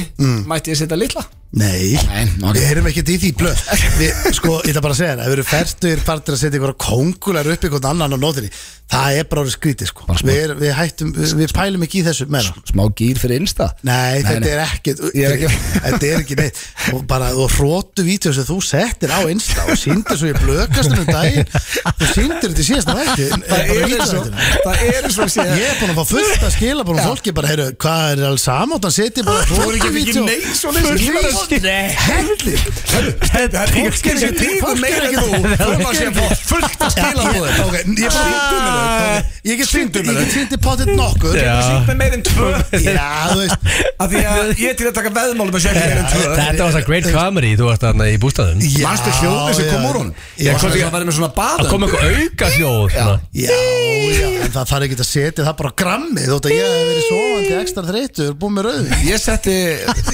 Mætti ég setja litla? Nei, við erum ekkert í því blöð við, Sko, ég ætla bara að segja það Ef við erum færtur partur að setja einhverja kongular upp einhvern annan á nóðinni Það er bara orðið skrítið sko við, er, við hættum, við, við pælum ekki í þessu meira Smá gýr fyrir insta Nei, Nei, þetta nei. er ekkert Ég er ekki- Þetta er ekki neitt Og bara, þú hrótu vítjum sem þú settir á insta Og síndir svo ég blökast um daginn Þú síndir þetta í síðasta vætti Það er eins og- það er eins og sé- Ég er búin að fá fullt að skila Búin Já. að fólki bara, heyru, hvað er alls samátt Hann setja bara Þú er ekki hrótu mikið vídeó. nei, svoleiðis. Fullt af skil- Hellir Fólk er ekki dýgur meira en þú Þú er bara að sé að fá fullt að skila þú þér Ok, ég bara sýndu mér þau Ég get sýndu mér þau Ég get sýndi potið nokkur Ég hef sýnt með meir en tvö Já, þú veist Af því að ég er til að taka veðmálum að sé ekki meir en tvö Þetta var það great comedy, þú varst þarna í bústæðum Já, Manstu hljóðið sem já. kom úr hún? Já, Ég kom því að vera með svona baðan Það kom eitthvað auka hljóð svona. Já, já, en það þarf ekki að setja það bara á grammið Þótt að ég hef verið sofandi ekstra þreytur Búið með rauðin Ég setti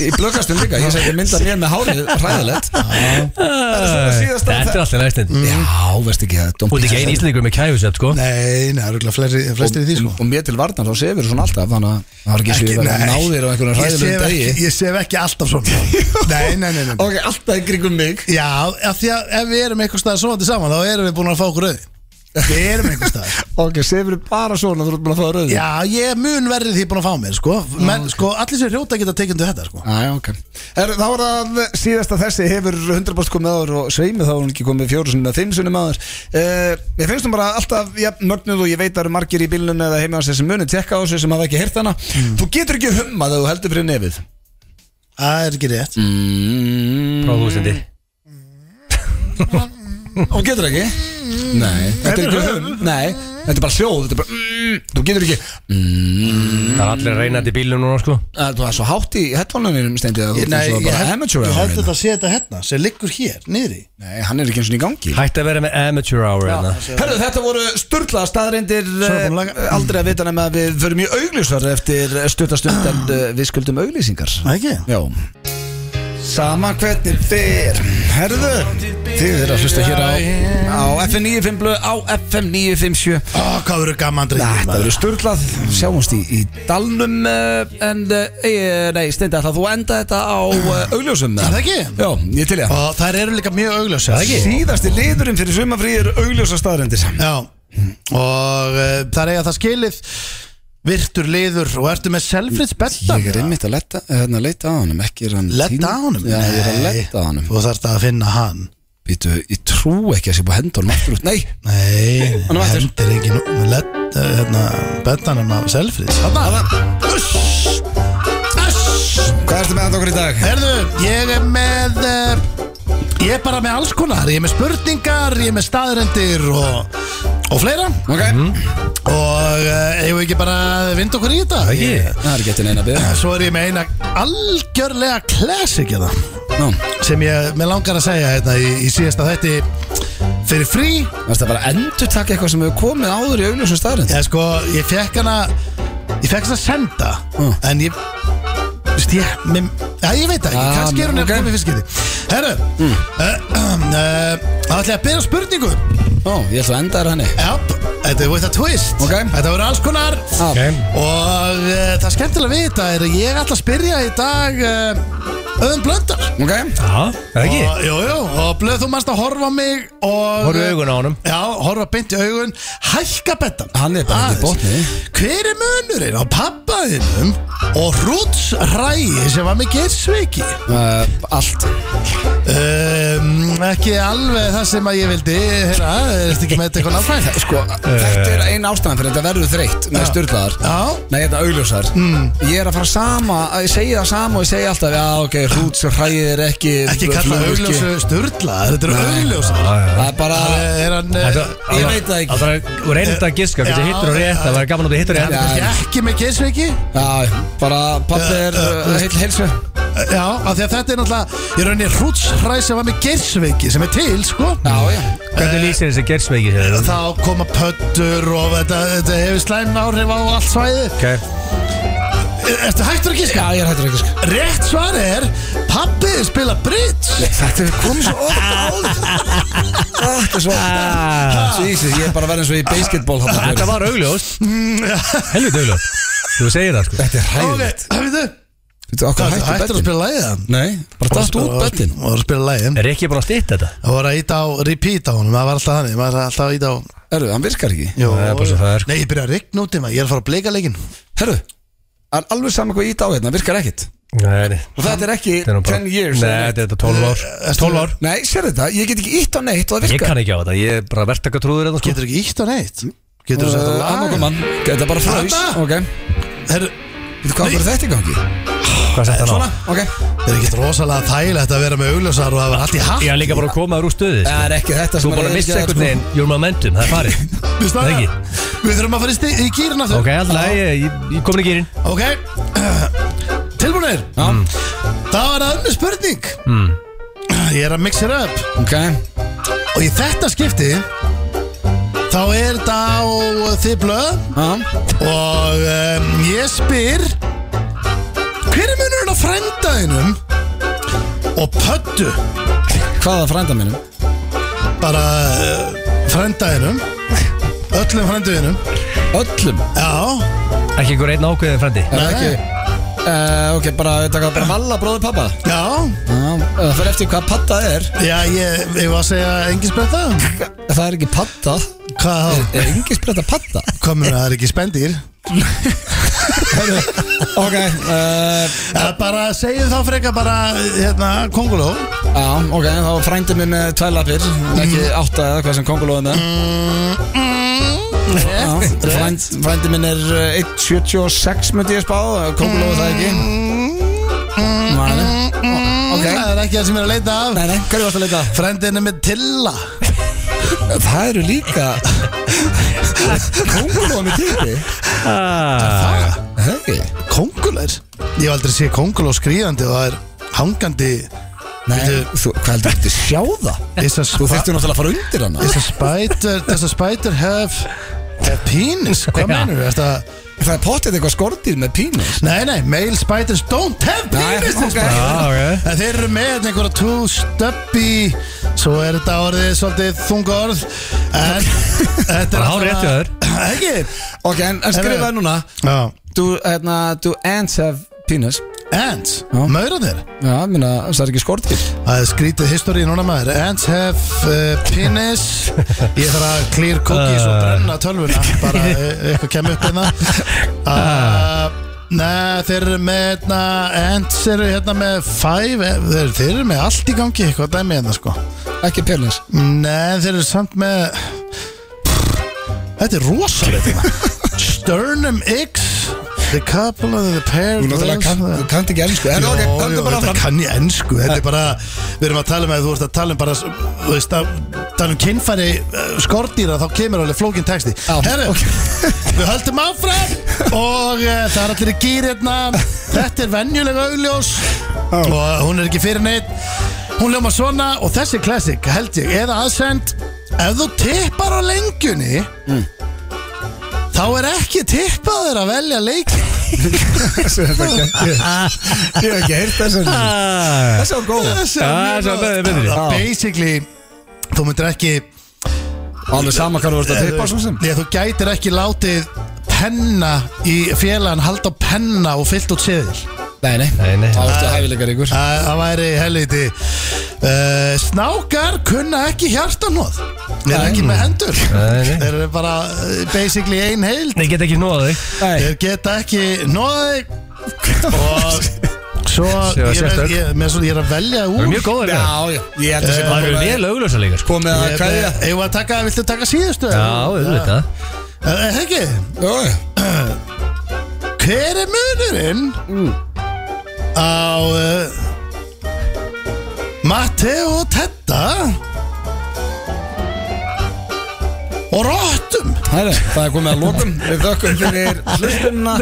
í blökastum líka Ég setti mynda mér með hárið hræðilegt Það er svona síðasta Ah, Þetta er alltaf næstinn Já, veist ekki að Þú ert ekki einn íslendingur með kæfusett, sko Nei, neða, rúglega flestir í því sko Og mér til varnar, þá sefur þú svona alltaf Þannig að það var ekki Ekki, séu að nei. ná þér á einhverjum Ég sef hræðilegum ekki- degi Ég sef ekki alltaf svona Nei, nei, nei, nei Ok, alltaf í kringum mig Já, af því að ef við erum einhvers staðar sofandi saman Þá erum við búin að fá okkur rauðin Við erum einhvers staðar Ok, sefur bara svona, þú ert búin að fá rauðið Já, ég er mun verið því búin að fá mér sko. Men, sko, allir sem hrjóta geta tekið undir þetta sko. Æ, ok er, Þá er það síðasta þessi hefur 100% komið áður og sveimið þá er hún ekki komið fjóru sinni að fimm sinni maður uh, Ég finnst hún bara alltaf ja, mögnuð og ég veit að það eru margir í bílunum eða heima á sér sem muni tekka á sér sem hafa ekki hirt hana Mm. Þú getur ekki hummað að þú heldur fyrir nefið Það er ekki rétt mm. Prófa þú sendi Þú getur ekki Nei, þetta er ekki hum Nei, þetta er bara hljóð þetta er bara, mm. Þú getur ekki Það er allir að reyna þetta í bílum núna, sko að, Eh, Þú er svo hátt í headphone-unum stendi að þú Ég- ert Nei, svo ég bara held- amateur ég hour held hérna. þetta að sé þetta hérna sem liggur hér, niðri Nei, hann er ekki eins og í gangi Hætti að vera með amateur hour hérna Herru, þetta voru sturla staðrindir búin að laga. aldrei að vita nema að við förum í auglýsvar eftir stuttastund en eh, við skuldum auglýsingar Það ekki? Já Sama hvernig fyrr Herðu, þið eru að hlusta hér á á FM 95 blöð á FM 957 Ó, hvað eru gaman Næ, drengir Þetta maður. verður sturglað, sjáumst í, í dalnum eh, en, e, nei, Steindi, ætla þú að enda þetta á eh, augljósum Er það ekki? Já, ég til ég Og þær eru líka mjög augljósa Síðasti liðurinn fyrir sumafrí er augljósa staðrindir Já, og uh, þar eiga það skilið virtur liður og ertu með selfrits betta Ég er einmitt að letta, hérna, leita að honum Ekki er hann Letta týnd- á honum? Já, ég er að Nei. letta að honum Þú þarft að finna hann Býtu, ég trú ekki að sé búið að henda honum aftur út Nei, Nei, Hann á eftir. hendir engin letta, hérna, bettanum af selfrits Þarna, hvað ertu með þetta okkur í dag? Herðu, ég er með eh, Ég er bara með alls konar Ég er með spurningar, ég er með staðrendir og, og fleira Ok, Mhm. Og uh, eigum við ekki bara að vinda okkur í þetta Ég- eh, það er getin eina byrð Svo er ég með eina algjörlega classic hérna, Nú, Sem ég, mér langar að segja hérna, í, í síðasta þætti Fyrir frí varst það bara að endur taka eitthvað sem hefur komið áður í augljósum staðrind Ég sko, ég fekk hana Ég fekk hana að senda Mm. En ég Vist ég, mér, ja, ég veit það ekki, Ah, kannski er hún ok. okay. komið fyrst geti Herru, mm. uh, uh, þá ætla ég að byrja á spurningu Ó, ég ætla að enda þér henni Jáp, þetta er with a twist Ok. Ah. Þetta voru alls konar Ok. Og uh, það skemmtilega við þetta er að ég ætla að spyrja í dag uh, Öðum blöndar Ah, Ok, Já, er það ekki? Og, jú, jú, og blöð þú mannst að horfa á mig og, eh, Horfðu í augun á honum. Já, horfa beint í augun Hækka bettan Hann er bara hérna í botni. Hver er munurinn á pappaðinum og hrútsrægi sem var með gersveiki? uh, allt Um, ekki alveg það sem að ég vildi Hérna, er þetta ekki með þetta eitthvað náttúrulega? Sko, þetta er ein ástæðan fyrir þetta verður þreytt með Eh. Já. styrlaðar Já. Hmm. Nei, þetta augljósar Ég er að fara sama, að ég segja það sama og ég segja alltaf Já, ok, hrút sem hræðið er ekki Ekki kalla flugvirki. augljósu sturla, þetta eru Nei. augljósa Það er bara Er hann, Þetta- eh, ég veit það ekki. Það er að reynda að giska, Já, hvernig hittur og rétt Það var gaman að þú hittur og rétt Já. ekki með gersveiki? Já, bara pappi er Uh, uh, uh, heil heilsu Já, af því að þetta er náttúrulega Í rauninni hrútsræði sem var með gersveiki sem er til, sko Já, já Hvernig lýsir þessi gerðsveiki sér? Þá koma pöttur og þetta, þetta hefur slæm áhrif á allt svæði Ok, Er- Ertu hættur að Já, gíska? ég er hættur ekki sko Rétt svar er Pappið spila bridge Þetta er komið svo oft áður Þetta er svo oft Jesus, ég er bara að vera eins og í basketball Þetta var augljóst Helviti augljóst Þú segir það sko Þetta er Ok, hægilegt hafið þau Þetta okkar Hvað, hættu hættir að beddin. spila lagið hann? Nei, bara Var- datt út var- beddin. Var að spila lagið Er ekki bara að stýtt þetta? Það var að íta á repeat á honum, það var alltaf þannig Maður var alltaf að íta á Herru, hann virkar ekki Jó, Það er bara svo það er. Nei, ég byrja að rigna út í maður, ég er að fara að bleika leikin Herru, hann er alveg saman hvað ég ít á hérna, virkar ekkit Nei, nei. Og þetta er ekki Þetta er nú bara- 10 years Nei, þetta er þetta 12 ár. Eh, 12 ár Nei, sér þetta, ég get ekki ítt á neitt og það Ég virkar kann ekki á þetta, ég er bara verktakatrúður eða sko Getur ekki ítt á neitt? Getur þú sett að Uh, Eh, laga? annar mann, geta bara fröys. Þarna? Ok. Herru, Veitu hvað verður þetta í gangi? Hvað sett hann Svona, á? ok Það er ekkert rosalega þægilegt að vera með augljósar og það var allt í hatt Ég er líka bara að koma þér úr stöðu sko. Það er ekki sko. þetta Þú sem er bara að missa einhvern veginn Your momentum, það er farið Við Það er stæðum ekki Við þurfum að fara í, sti- í gýrin aftur Ok, alltaf, ég, ég, ég komin í gýrin Ok Tilbúinir Mm. Það var önnur spurning Mm. Ég er að mixa it up Ok Og í þetta skipti Þá er þetta á þið blöð Já Og um, ég spyr Hver er munurinn á frændaðinum Og pöttu Hvaða frænda minnum? Bara uh, frændaðinum Öllum frændaðinum Öllum Já Ekki einhver einn ákveðin frendi Er það Nei. ekki Uh, ok, bara, taka bara Valla bróður pappa Já Já, Það fyrir eftir hvað patta er Já, ég, ég var að segja engin spretta Það er ekki patta Hvað þá? Er engin spretta patta? Komur að það er ekki spendýr Ok uh, Eh, Bara segjum þá frekar bara hérna, konguló Já, ok, þá var frændi minn með tvær lappir en Ekki átta eða hvað sem kongulóðum er Mm, Já, frænd, Frændi minn er eh, 1.76 myndi ég spá Kongulóðu það ekki Mm, Nei, nei. Ok, Það er ekki það sem ég er að leita af nei, nei, hverju varst að leita? Frendin er með Tilla Það eru líka Kongulóðum í tíli Ah. Hei, Kongulær? Ég hef aldrei séð konguló skrýðandi og það er hangandi nei, þú, hvað heldur þetta sjá það? Is a Þú spi- þurftu náttúrulega að fara undir hana is a spider Does a spider have have penis? Hvað mennur þetta? Það er pottið eitthvað skortir með pínus Nei, nei, male spiders don't have Nei, penis ok. okay. Já, ok En þeir eru með hérna einhverja two stubby Svo er þetta orðið svolítið þunga orð En þetta er Bara hárrétt hjá þér. Ekki Ok, en, en skrifaði núna Já Do, hérna, do ants have penis? Ants, maura þér Já, minna, það er ekki skortir Það er skrítið historí núna maður Ants have uh, penis Ég þarf að clear cookies og brenna tölvuna Bara eh, eitthvað kemur upp hérna Ah. uh, Nei, þeir eru með hérna Ants eru hérna með five eh, Þeir, þeir eru með allt í gangi Eitthvað dæmi hérna sko Ekki penis Nei, þeir eru samt með Þetta er rosalegt hérna. Sternum X The couple of the pair Þú náttúrulega kann, þú kannt ekki ennsku En Jó, ok, jó, höldu bara þetta áfram kann ég ennsku Þetta er bara, við erum að tala um að þú ert að tala um bara, þú veist að tala um kynfæri uh, skordýra þá kemur alveg flókin texti Já, Herru, ok. við höldum áfram og uh, það er allir í gýr hérna Þetta er venjulega augljós og hún er ekki fyrir neitt Hún ljóma svona og þessi classic held ég, eða aðsend Ef þú tippar á lengjunni Mm. Þá er ekki tippaður að velja leik Ég hef ekki heyrt þessu Ah, Þessu var góð Þessi Já, er þessi var mjög betri, góð. betri. Það er Basically Þú myndir ekki Alveg sama hvað þú vorst að teipa svo sem Nei, Þú gætir ekki látið penna í félagann halda á penna og fyllt út seðil Nei, nei, Ah. Nei, nei. það vorstu hæfileikar ykkur Það það væri helviti uh, Snákar kunna ekki hjartanóð Þeir eru ekki með hendur Nei, nei. Þeir eru bara eh, basically ein heild Nei, ég get ekki nóða þig Nei, Þeir geta ekki nóði Og svo Sér var ég, er- sérstök. ég, með svo, ég er að velja Það úr er mjög góður já, það já Ég held að sé Það bara eru vel auglösa líka sko komið að Ég- kveðja eh, eigum við að taka, viltu taka síðustu? Já, auðvitað Ah. Eh, Er það ekki? Jó, já. Hver er munurinn á uh, Matteo og Tedda og Rottum? Herri, það er komið að lokum Við þökkum fyrir hlustunna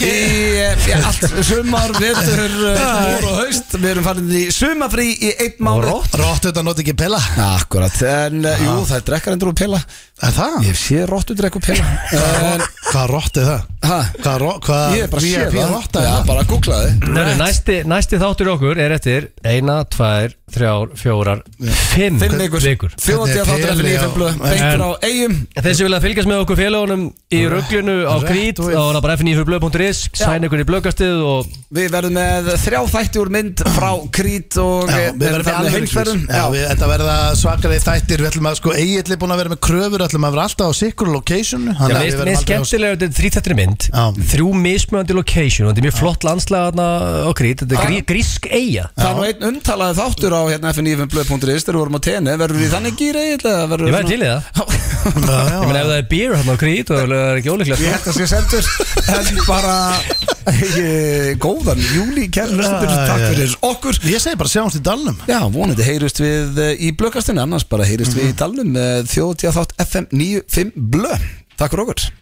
Í eh, já, allt sumar, vetur, eh, vor og haust Við erum farin í sumafrí í einn mánu Rottum þetta noti ekki pilla. Akkurat, en eh, jú, það er drekkar endur úr pela Er það? Ég hef séð róttu drekku pela En Hvað rott er það? Ha? Hvað rott? Hvað Ég er bara að sé VIP það. rotta Ah, er Já, það? bara að googla þið. Nei, næsti, næsti þáttur í okkur er eftir eina, tvær, þrjár, fjórar, fimm, Fimm vikur. vikur. Fjóðandíða þáttur eftir nýja fimmlu Beintur á eigum Þeir sem vilja fylgjast með okkur félagunum í rugglinu á grít þá er það bara fnifurblöð.is sæn ykkur í blöggastið og Við verðum með þrjá þætti úr mynd frá Krít og Já, við verðum með alveg heimsferðum Já, við, þetta verða svakalegi þættir Við ætlum að, sko, Egil er búin að vera með kröfur ætlum að vera alltaf á sikkur location Já, mér finnst mér skemmtilega að þetta er þrítættri mynd Þrjú mismöðandi location og Þetta er mjög flott landslega þarna á Krít Ah. Þetta er grí, grísk eiga Það er nú einn umtalaði þáttur á hérna fnifnblöð.is þegar við vorum á tenni, verður við þannig gýri eða verður Ég væri til í það Ég meina ef það er beer hann á Krít og það er ekki ólíklegt Ég held að sé sendur En bara eh, Góðan júli Kæri hlustendur Já, Takk já. fyrir okkur Ég segi bara sjáumst í dalnum Já, vonandi heyrust við eh, í Mhm. blökastinu Annars bara heyrust við í dalnum Þjóðtíða þátt FM 95 blö Takk fyrir okkur